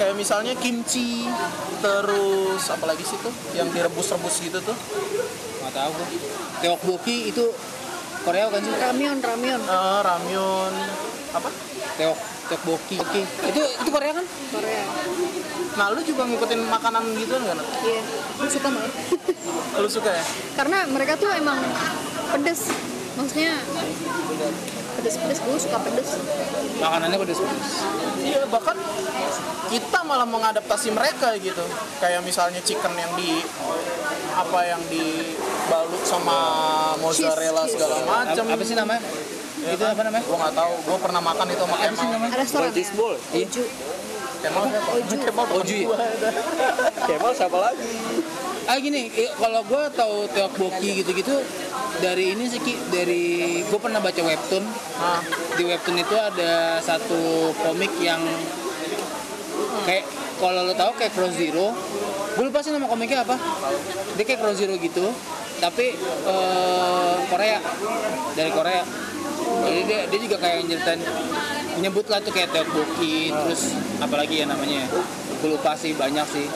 Speaker 5: Kayak misalnya kimchi, terus apalagi sih tuh yang direbus-rebus gitu tuh.
Speaker 3: Nggak tahu gue. Teokbokki itu Korea kan sih?
Speaker 2: ramyun ramyun
Speaker 5: Eh, ramyun apa?
Speaker 3: Teok Teokbokki. Oke. Itu itu Korea kan?
Speaker 2: Korea
Speaker 5: Nah lu juga ngikutin makanan gitu nggak? Nat?
Speaker 2: iya gue suka banget *laughs*
Speaker 5: Lu suka ya?
Speaker 2: karena mereka tuh emang pedes maksudnya pedes-pedes gue suka pedes
Speaker 3: Makanannya pedes-pedes.
Speaker 5: Iya bahkan kita malah mengadaptasi mereka gitu. Kayak misalnya chicken yang di apa yang dibalut sama mozzarella
Speaker 2: Cheese,
Speaker 5: segala
Speaker 2: cheese.
Speaker 5: macam.
Speaker 3: Apa sih namanya? Itu apa namanya?
Speaker 5: Gue nggak tahu. Gue pernah makan itu sama
Speaker 3: Apa sih
Speaker 5: Kemal.
Speaker 3: namanya?
Speaker 2: ada restoran
Speaker 6: This ball.
Speaker 2: Oju
Speaker 5: Kemal siapa? Oh, Kemal teman
Speaker 3: Oju ya?
Speaker 5: gua.
Speaker 6: Kemal siapa lagi?
Speaker 3: Ah gini, i- kalau gue tahu Teokbokki gitu-gitu dari ini sih Ki, dari gue pernah baca webtoon.
Speaker 5: Nah,
Speaker 3: Di webtoon itu ada satu komik yang kayak kalau lo tahu kayak Cross Zero. Gue lupa sih nama komiknya apa. Dia kayak Cross Zero gitu, tapi eh, Korea dari Korea. Jadi dia, dia juga kayak nyeritain menyebut lah tuh kayak Teokbokki, terus apalagi ya namanya. Gue lupa sih banyak sih.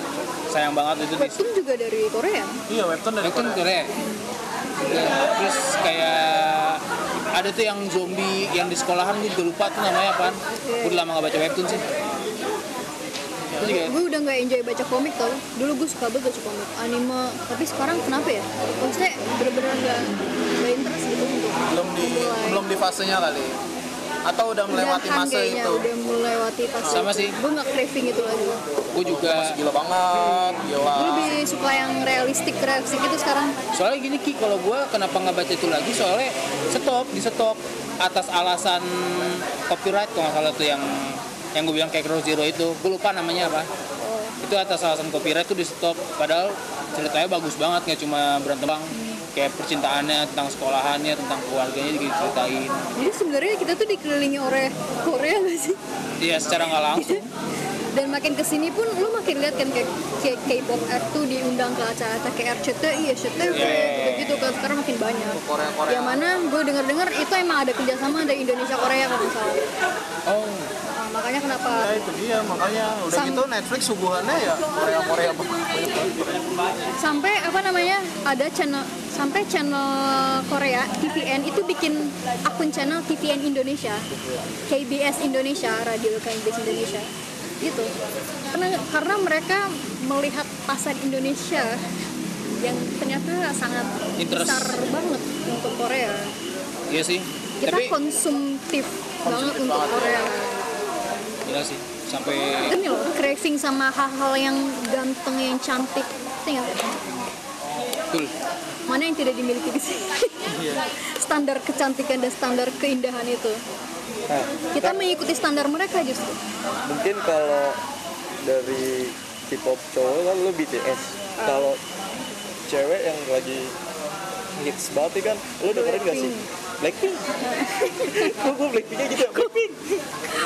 Speaker 3: Sayang banget itu di
Speaker 2: webtoon juga dari Korea
Speaker 5: iya webtoon dari
Speaker 3: itu kan
Speaker 5: Korea.
Speaker 3: Korea. Ya, Terus kayak ada tuh yang zombie yang di sekolahan gue juga lupa tuh namanya apaan. Gue udah lama gak baca webtoon sih. Itu juga ya?
Speaker 2: gue udah nggak enjoy baca komik tau dulu gue suka banget baca komik anime tapi sekarang kenapa ya maksudnya bener-bener nggak nggak interest gitu untuk
Speaker 5: Belum di
Speaker 2: mulai.
Speaker 5: belum di fasenya kali. Atau udah melewati
Speaker 2: Udahan
Speaker 5: masa
Speaker 2: kayaknya,
Speaker 5: itu.
Speaker 2: udah melewati fase
Speaker 3: Sama sih.
Speaker 2: gue nggak craving itu lagi
Speaker 3: gue juga
Speaker 5: Gila banget, gila.
Speaker 3: Ah.
Speaker 2: gue lebih suka yang realistik realistik itu sekarang
Speaker 3: soalnya gini Ki kalau gue kenapa nggak baca itu lagi soalnya stop di stop atas alasan copyright kalau nggak salah tuh yang yang gue bilang kayak Cross Zero itu gue lupa namanya apa
Speaker 2: Oh.
Speaker 3: itu atas alasan copyright tuh di stop padahal ceritanya bagus banget nggak cuma berantem bang kayak percintaannya tentang sekolahannya tentang keluarganya juga diceritain
Speaker 2: jadi sebenarnya kita tuh dikelilingi oleh Korea nggak sih
Speaker 3: iya secara nggak langsung
Speaker 2: *laughs* dan makin kesini pun lu makin lihat kan kayak kayak K-pop act tuh diundang ke acara-acara kayak RCTI, SCTV
Speaker 3: Yeah.
Speaker 2: gitu-gitu kan sekarang makin banyak.
Speaker 5: Korea-Korea.
Speaker 2: Yang mana gue dengar-dengar itu emang ada kerjasama ada Indonesia Korea kalau nggak salah.
Speaker 3: oh Iya,
Speaker 2: Nah, makanya kenapa
Speaker 5: Ya itu dia makanya udah
Speaker 2: Sam-
Speaker 5: gitu Netflix suguhannya ya Korea-Korea
Speaker 2: sampai apa namanya ada channel sampai channel Korea TVN itu bikin akun channel TVN Indonesia, KBS Indonesia, radio KBS Indonesia. gitu karena karena mereka melihat pasar Indonesia yang ternyata sangat
Speaker 3: Interest.
Speaker 2: besar banget untuk Korea
Speaker 3: Iya sih.
Speaker 2: kita
Speaker 3: Tapi ya.
Speaker 2: konsumtif, banget
Speaker 5: Konsumtif
Speaker 2: untuk
Speaker 5: banget.
Speaker 2: Korea
Speaker 3: gila sih. Sampai
Speaker 2: ini loh craving sama hal-hal yang ganteng yang cantik tinggal
Speaker 3: betul.
Speaker 2: mana yang tidak dimiliki di sini standar kecantikan dan standar keindahan itu
Speaker 4: Nah,
Speaker 2: kita mengikuti standar mereka justru
Speaker 4: mungkin kalau dari K-pop cowok kan lu BTS. Kalau cewek yang lagi hits banget nih kan, lu dengerin gak sih? Blackpink. *laughs* Kok gue Blackpinknya gitu ya? Blackpink.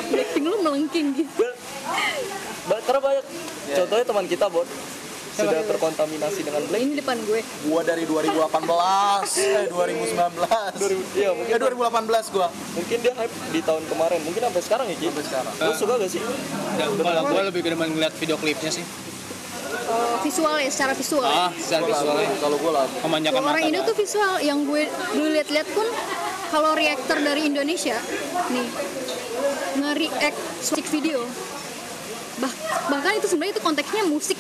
Speaker 2: Blackpink lu melengking gitu
Speaker 4: Ba- ba- Karena banyak.
Speaker 5: Iya.
Speaker 4: Contohnya teman kita, Bon. Sudah terkontaminasi dengan Black.
Speaker 2: ini depan gue
Speaker 5: Gua dari 2018, eh
Speaker 4: 2000,
Speaker 5: 2019.
Speaker 4: iya, mungkin,
Speaker 5: Eh 2018 gua.
Speaker 4: mungkin dia hype di tahun kemarin. Mungkin sampai sekarang ya, Ki.
Speaker 5: Sampai sekarang.
Speaker 4: Lu suka gak sih?
Speaker 3: Kalau gue lebih ke demen ngeliat video klipnya sih.
Speaker 2: Eh, visual ya secara visual
Speaker 3: Ah, secara
Speaker 5: Gua
Speaker 3: visualnya.
Speaker 5: lagu, Kalau gua lagu.
Speaker 3: Memanjakan
Speaker 2: Kalau orang
Speaker 3: mata.
Speaker 2: Indo tuh visual yang gue dulu lihat-lihat pun kalau reactor dari Indonesia nih nge-react musik video Bah- bahkan itu sebenarnya itu konteksnya musik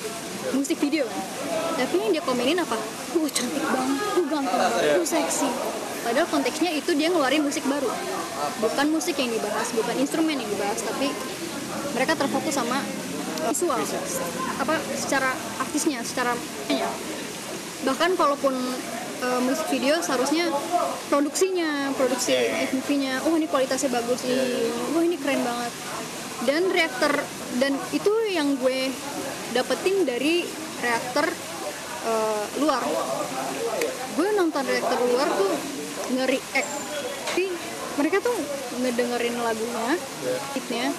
Speaker 2: musik video kan tapi yang dia komenin apa uh cantik banget uh ganteng banget uh seksi padahal konteksnya itu dia ngeluarin musik baru bukan musik yang dibahas bukan instrumen yang dibahas tapi mereka terfokus sama visual apa secara artisnya secara ya bahkan kalaupun eh, musik video seharusnya produksinya produksi MV-nya oh ini kualitasnya bagus nih oh ini keren banget dan reaktor dan itu yang gue dapetin dari reaktor eh, luar gue nonton reaktor luar tuh nge-react Jadi, mereka tuh ngedengerin lagunya hitnya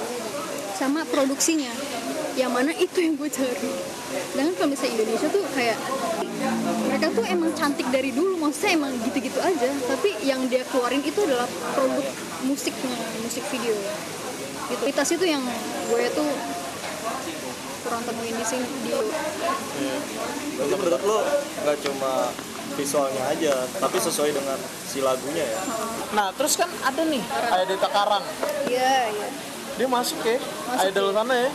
Speaker 2: sama produksinya yang mana itu yang gue cari sedangkan kalau misalnya Indonesia tuh kayak mereka tuh emang cantik dari dulu maksudnya emang gitu-gitu aja tapi yang dia keluarin itu adalah produk musiknya musik video gitu kualitas itu yang gue tuh kurang temuin di sini di
Speaker 4: Jadi menurut lo nggak cuma visualnya aja, tapi sesuai dengan si lagunya ya.
Speaker 5: Nah, terus kan ada nih, ada Karang.
Speaker 2: iya iya
Speaker 5: Dia masuk ya,
Speaker 2: Masuk,
Speaker 5: idol sana ya.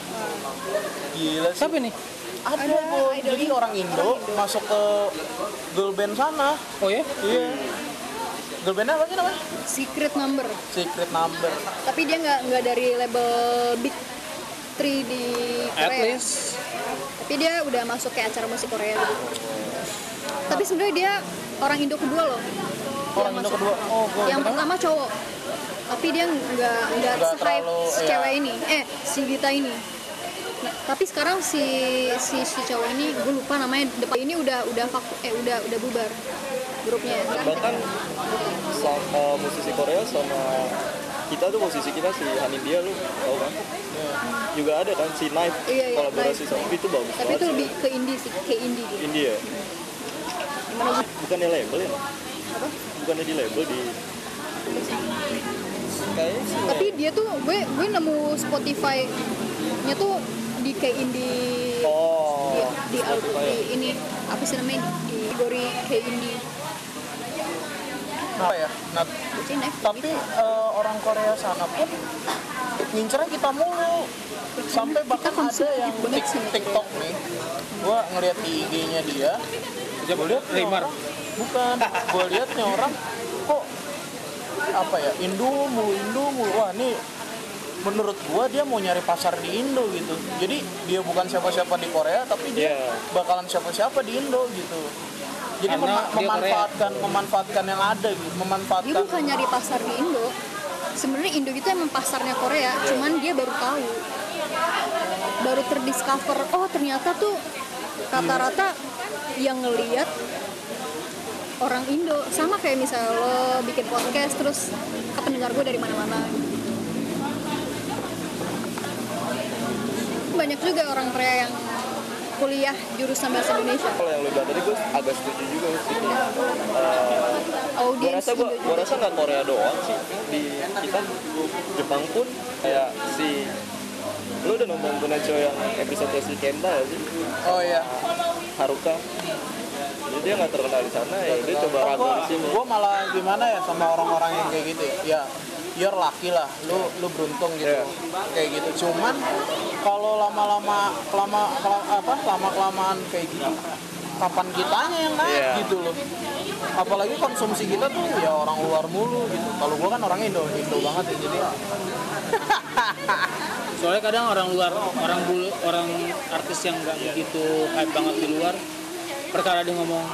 Speaker 5: Gila sih.
Speaker 3: Siapa nih?
Speaker 5: Ada,
Speaker 2: Ada
Speaker 5: Bu.
Speaker 2: idol.
Speaker 5: Jadi orang Indo masuk ke girl band sana.
Speaker 3: Oh ya?
Speaker 5: Iya. Girl bandnya apa sih namanya?
Speaker 2: secret number
Speaker 5: Secret Number.
Speaker 2: tapi dia nggak nggak dari label big three di
Speaker 3: At
Speaker 2: Korea
Speaker 3: least.
Speaker 2: tapi dia udah masuk ke acara musik Korea gitu. tapi sebenarnya dia orang Indo kedua loh Dia
Speaker 5: Orang Indo
Speaker 2: masuk-
Speaker 5: kedua. Oh, gua
Speaker 2: yang pertama cowok tapi dia nggak nggak
Speaker 5: Nggak
Speaker 2: se-hype
Speaker 5: terlalu,
Speaker 2: si
Speaker 5: iya.
Speaker 2: cewek ini eh si Gita ini Nah, tapi sekarang si si si cowok ini gue lupa namanya depan ini udah udah vaku- eh udah udah bubar grupnya
Speaker 4: Bahkan sa- eh, musisi Korea sama kita tuh musisi kita si Hanindia lu tau kan?
Speaker 5: Iya.
Speaker 4: Juga ada kan si Knife
Speaker 2: Iya, iya,
Speaker 4: kolaborasi
Speaker 2: Knife.
Speaker 4: sama itu bagus
Speaker 2: tapi
Speaker 4: banget
Speaker 2: itu
Speaker 4: sih.
Speaker 2: lebih ke indie sih ke indie dia
Speaker 4: India.
Speaker 2: gimana
Speaker 4: Bukannya label ya? Bukannya di label di kayaknya sih.
Speaker 2: tapi dia tuh gue gue nemu Spotify nya tuh di kayak indie
Speaker 4: Oh,
Speaker 2: di, di album
Speaker 4: Spotify.
Speaker 2: di ini apa sih namanya di kategori kayak indie
Speaker 5: Apa ya? Nah,
Speaker 2: Kucing, eh.
Speaker 5: tapi eh, orang Korea sana pun ngincernya kita mulu sampai bahkan
Speaker 2: Kita konsumtif
Speaker 5: ada yang
Speaker 2: banget
Speaker 5: tik-
Speaker 2: sama dia.
Speaker 5: TikTok nih gua ngeliat di IG-nya dia gua lihat nih
Speaker 3: Neymar.
Speaker 5: orang- bukan gua lihat nih orang kok apa ya Indo mulu Indo mulu wah nih menurut gua dia mau nyari pasar di Indo gitu jadi dia bukan siapa-siapa di Korea tapi dia
Speaker 4: Iya.
Speaker 5: bakalan siapa-siapa di Indo gitu jadi
Speaker 3: Karena
Speaker 5: mema-
Speaker 3: dia Korea.
Speaker 5: memanfaatkan memanfaatkan yang ada gitu
Speaker 2: dia
Speaker 5: memanfaatkan
Speaker 2: bukan nyari pasar di Indo sebenarnya Indo itu emang pasarnya Korea cuman dia baru tahu baru terdiscover oh ternyata tuh rata-rata yang ngeliat orang Indo sama kayak misalnya lo bikin podcast terus ke pendengar gue dari mana-mana banyak juga orang Korea yang kuliah jurusan bahasa Indonesia
Speaker 4: Kalau yang lu bilang tadi gue agak setuju juga sih. Eh, Gua
Speaker 2: audiens
Speaker 4: rasa gua,
Speaker 2: Indo
Speaker 4: gua
Speaker 2: juga.
Speaker 4: rasa nggak Korea doang sih di kita Jepang pun kayak si lu udah nonton Tuna Cho yang episode si Kenta ya sih
Speaker 5: oh ya
Speaker 4: Haruka jadi dia nggak terkenal di sana ya dia coba
Speaker 5: Oh,
Speaker 4: ragam
Speaker 5: gua,
Speaker 4: di sini
Speaker 5: gua malah gimana ya sama orang-orang yang kayak gitu ya ya you're lucky lah lu lu beruntung gitu
Speaker 4: Iya.
Speaker 5: kayak gitu cuman kalau lama-lama lama kela- apa lama kelamaan kayak gitu kapan kitanya yang naik
Speaker 4: Iya.
Speaker 5: gitu loh apalagi konsumsi kita tuh ya orang luar mulu gitu kalau gua kan orangnya indo indo banget ya jadi
Speaker 3: soalnya kadang orang luar orang bulu orang artis yang nggak begitu hype banget di luar perkara dia ngomong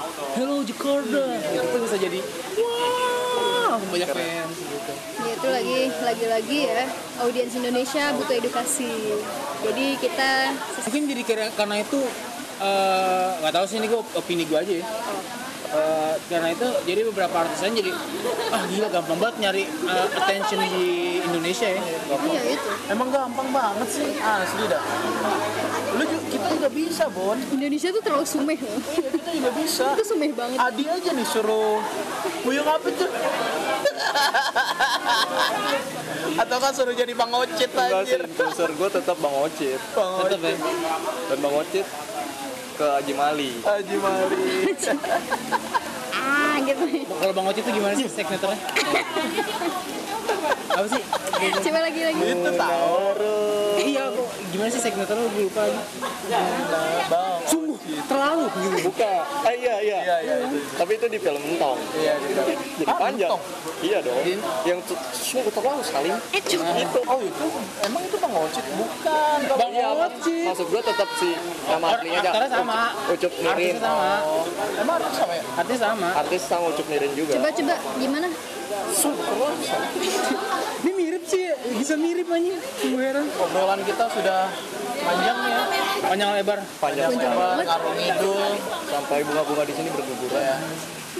Speaker 3: hello Jakarta itu tuh bisa jadi wah banyak fans gitu
Speaker 2: Ya, itu lagi lagi-lagi ya audiens Indonesia butuh edukasi. Jadi kita
Speaker 3: mungkin jadi kira- karena itu eh, nggak tahu sih ini gue opini gue aja ya Eh, karena itu jadi beberapa artisan jadi ah gila gampang banget nyari eh, attention di Indonesia ya
Speaker 2: iya itu
Speaker 5: emang gampang banget sih asli dah lu ju- kita juga bisa bon
Speaker 2: Indonesia tuh terlalu sumeh loh.
Speaker 5: Iya, kita juga bisa
Speaker 2: Itu sumeh banget.
Speaker 5: Adi aja nih suruh Puyung apa tuh? *laughs* Atau kan suruh jadi Bang Ocit
Speaker 4: Enggak sih,
Speaker 5: anjir
Speaker 4: influencer gue tetap Bang Ocit.
Speaker 5: Bang
Speaker 3: tetap ya
Speaker 5: Ocit
Speaker 4: Dan Bang Ocit ke Haji Mali.
Speaker 5: Haji Mali
Speaker 2: Ah gitu.
Speaker 3: kalau Bang Oci itu gimana sih
Speaker 2: *laughs*
Speaker 3: signaturnya apa sih
Speaker 2: Coba lagi lagi.
Speaker 5: Itu tau
Speaker 3: Eh, iya aku gimana sih signaturnya gue lupa lagi
Speaker 5: Bang
Speaker 3: sungguh terlalu gitu
Speaker 4: Buka. Ah, iya, iya.
Speaker 5: Iya, iya itu
Speaker 4: Tapi itu di film Entong.
Speaker 5: Iya, gitu
Speaker 4: Jadi
Speaker 5: Ah,
Speaker 4: panjang.
Speaker 5: Entong?
Speaker 4: Iya dong.
Speaker 3: Jadi-
Speaker 4: Yang tuh sungguh terlalu saling.
Speaker 2: Eh cuma
Speaker 5: Itu, oh itu Emang itu Bang Ocit? Bukan
Speaker 3: Bang
Speaker 4: Iya, Mas.
Speaker 3: Ocit
Speaker 4: Maksud gue tetap si nama
Speaker 3: Ar-
Speaker 4: aslinya aja.
Speaker 3: aktornya sama.
Speaker 4: Ucup, Ucup Nirin.
Speaker 3: artisnya sama
Speaker 5: Emang harus sama ya?
Speaker 3: artis sama
Speaker 4: Artis sama Ucup Nirin juga.
Speaker 2: coba coba gimana?
Speaker 4: Sungguh terlalu saling.
Speaker 3: ini mirip sih bisa mirip anjing gue heran
Speaker 5: Obrolan kita sudah panjang ya
Speaker 3: panjang lebar
Speaker 4: Panjang
Speaker 2: Panjang.
Speaker 4: lebar.
Speaker 5: Lebar, Ngarung Ngidul
Speaker 4: Sampai bunga-bunga di sini berguguran.
Speaker 5: ya.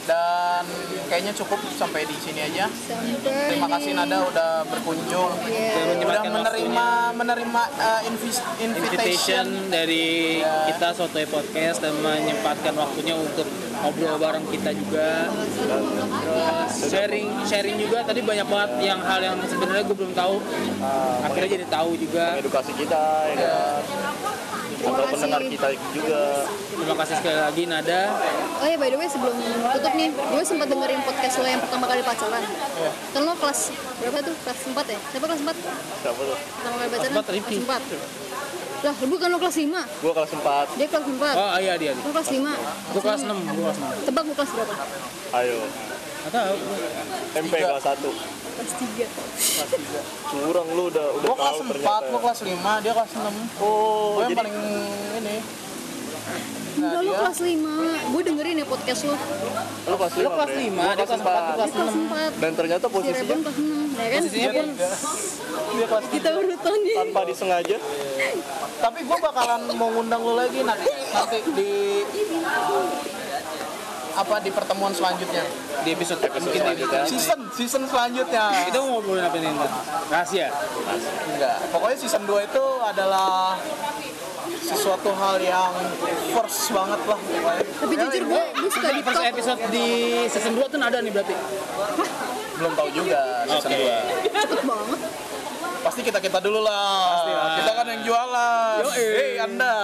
Speaker 5: Dan kayaknya cukup sampai di sini aja
Speaker 2: Sampai
Speaker 5: Terima kasih
Speaker 2: di-
Speaker 5: Nada udah berkunjung.
Speaker 2: Iya.
Speaker 3: Dan
Speaker 5: Udah
Speaker 3: menyempatkan
Speaker 5: menerima menerima uh, invis- invitation.
Speaker 3: invitation dari kita Sotoy Podcast dan menyempatkan waktunya untuk ngobrol bareng kita juga Terus sharing sharing juga tadi banyak banget yang hal yang sebenarnya gue belum tahu akhirnya jadi tahu juga
Speaker 4: Edukasi kita, ya kan. Atau
Speaker 2: kasih.
Speaker 4: pendengar kita juga.
Speaker 3: terima kasih sekali lagi Nada
Speaker 2: Oh ya by the way sebelum tutup nih, gue sempat dengerin podcast lo yang pertama kali pacaran.
Speaker 3: Iya.
Speaker 2: Kan lo kelas berapa tuh? Kelas 4 ya? Siapa kelas 4?
Speaker 4: Siapa tuh?
Speaker 2: Pertama kali pacaran?
Speaker 3: Kelas empat, Rifki.
Speaker 2: Kelas 4. Lah, bukan lo kelas 5.
Speaker 4: Gue kalau sempat.
Speaker 2: Dia kelas 4.
Speaker 3: oh iya dia
Speaker 2: Lo kelas 5.
Speaker 3: gue kelas 6 gue kelas
Speaker 2: Tebak gue kelas berapa?
Speaker 4: Ayo.
Speaker 3: 6 atau
Speaker 4: MP kelas 1.
Speaker 2: Kelas 3.
Speaker 4: Curang lu udah udah
Speaker 5: Gue kelas
Speaker 4: tahu
Speaker 5: 4, gue kelas 5, dia kelas 6.
Speaker 4: Oh,
Speaker 5: Gue yang
Speaker 4: jadi
Speaker 5: paling ini.
Speaker 2: Enggak,
Speaker 3: Nah,
Speaker 2: lo
Speaker 5: dia-
Speaker 2: kelas 5. Gue dengerin ya podcast lo.
Speaker 4: lu Iya, kelas
Speaker 3: lu
Speaker 4: 5.
Speaker 3: kelas 5 dia kelas Iya, 4
Speaker 2: Dia kelas 4.
Speaker 4: Dan ternyata
Speaker 2: Si
Speaker 4: posisinya
Speaker 2: Rebon kelas 6. Ya kan?
Speaker 3: posisinya pun
Speaker 5: Dia kelas
Speaker 2: Kita urutan nih.
Speaker 4: tanpa disengaja.
Speaker 5: Tapi gue bakalan mau ngundang lo lagi nanti nanti di apa di pertemuan selanjutnya.
Speaker 3: di episode
Speaker 4: Episode
Speaker 3: mungkin di
Speaker 4: selanjutnya.
Speaker 5: Season season selanjutnya.
Speaker 3: kita mau ngobrolin apa nih Nda? rahasia
Speaker 5: Enggak. Pokoknya season 2 itu adalah sesuatu hal yang first banget lah. pokoknya. Ya,
Speaker 2: Tapi jujur gue, gue suka
Speaker 3: Tadi
Speaker 2: di
Speaker 3: first episode di season 2 tuh Nada nih berarti
Speaker 5: Belum tahu juga season
Speaker 3: Oke.
Speaker 5: 2.
Speaker 2: cepet banget.
Speaker 5: Pasti kita kita dulu lah.
Speaker 3: lah.
Speaker 5: Kita kan yang jualan.
Speaker 3: Yoi.
Speaker 5: Hei Anda.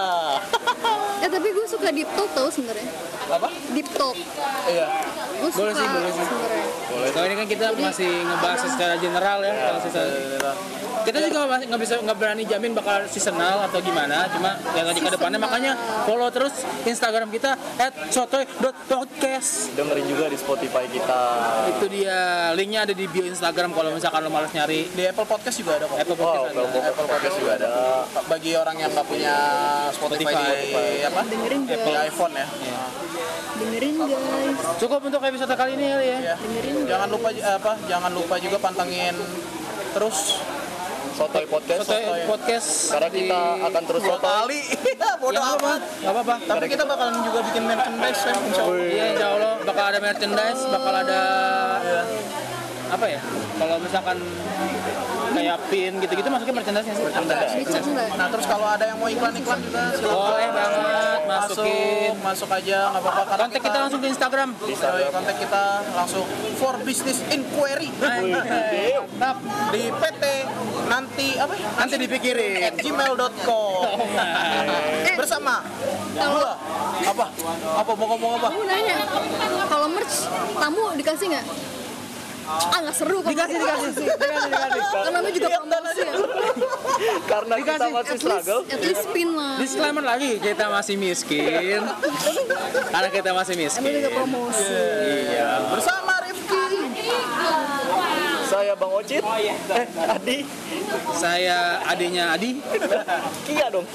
Speaker 2: Eh tapi gue suka deep talk tau sebenarnya.
Speaker 5: Apa?
Speaker 2: Deep talk.
Speaker 5: Iya.
Speaker 2: Gue suka
Speaker 3: Boleh sih, boleh sih.
Speaker 2: sebenarnya.
Speaker 3: Soalnya ini kan kita masih ngebahas secara general ya, kalau season. Kita juga masih nggak bisa nggak berani jamin bakal seasonal atau gimana, cuma lihat aja ke depannya.
Speaker 2: Seasonal.
Speaker 3: Makanya follow terus Instagram kita @sotoy.podcast.
Speaker 4: Dengerin juga di Spotify kita.
Speaker 3: Itu dia linknya ada di bio Instagram kalau misalkan lo malas nyari
Speaker 5: Di Apple Podcast juga ada kok.
Speaker 3: Apple
Speaker 4: Wow,
Speaker 3: Podcast
Speaker 4: kalau
Speaker 3: ada.
Speaker 4: Google Podcast juga ada.
Speaker 5: Bagi orang yang nggak punya Spotify,
Speaker 3: Spotify.
Speaker 5: di apa?
Speaker 2: Dengerin guys.
Speaker 5: Apple iPhone ya.
Speaker 3: Iya.
Speaker 2: Dengerin guys.
Speaker 3: Cukup untuk episode kali ini kali ya.
Speaker 5: Iya. Jangan lupa apa? Jangan lupa juga pantengin terus
Speaker 4: Sotoy Podcast.
Speaker 3: Sotoy Podcast.
Speaker 4: Karena
Speaker 3: di-
Speaker 4: kita akan terus
Speaker 5: dua
Speaker 4: sotoy.
Speaker 5: *laughs* kali. Bodoh
Speaker 3: Nggak apa-apa,
Speaker 5: Iya, amat.
Speaker 3: nggak apa-apa.
Speaker 5: Tapi kita bakalan juga bikin merchandise ya, insya Allah.
Speaker 3: Iya, insya Allah bakal ada merchandise, bakal ada apa ya? Kalau misalkan kayak pin gitu-gitu masuknya merchandise sih.
Speaker 2: Ini cek lah.
Speaker 5: Nah terus kalau ada yang mau iklan-iklan juga
Speaker 3: Boleh
Speaker 5: silakan
Speaker 3: banget masukin.
Speaker 5: masuk, masuk aja nggak apa-apa. Karena
Speaker 3: Kontak kita langsung ke Instagram.
Speaker 5: Yoi, kontak kita langsung for business inquiry
Speaker 3: Anjay, Mantap.
Speaker 5: di PT nanti apa ya?
Speaker 3: Nanti dipikirin.
Speaker 5: at gmail.com Eh, bersama gua apa apa mau ngomong apa
Speaker 2: Aku nanya, kalau merch tamu dikasih nggak? ah nggak seru kok
Speaker 3: Dikasih, dikasih, dikasih, dikasih.
Speaker 2: kan namanya juga promosi ya
Speaker 4: karena kita
Speaker 3: Dikasih,
Speaker 4: masih
Speaker 2: at least
Speaker 4: struggle
Speaker 2: at least pin lah
Speaker 3: Disclaimer lagi, kita masih miskin. Karena kita masih
Speaker 2: emang
Speaker 3: miskin.
Speaker 2: juga promosi
Speaker 3: Iya. Bersama Rifki.
Speaker 4: saya bang Ocit eh, Adi
Speaker 3: Saya adiknya Adi
Speaker 4: Kia dong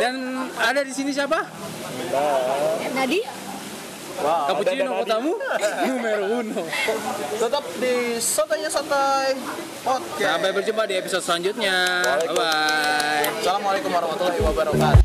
Speaker 3: dan ada di sini siapa?
Speaker 2: Nadi
Speaker 4: wow,
Speaker 3: Cappuccino tamu numero uno.
Speaker 5: tetap di santai santai podcast
Speaker 3: Sampai berjumpa di episode selanjutnya. Bye bye.
Speaker 5: assalamualaikum warahmatullahi wabarakatuh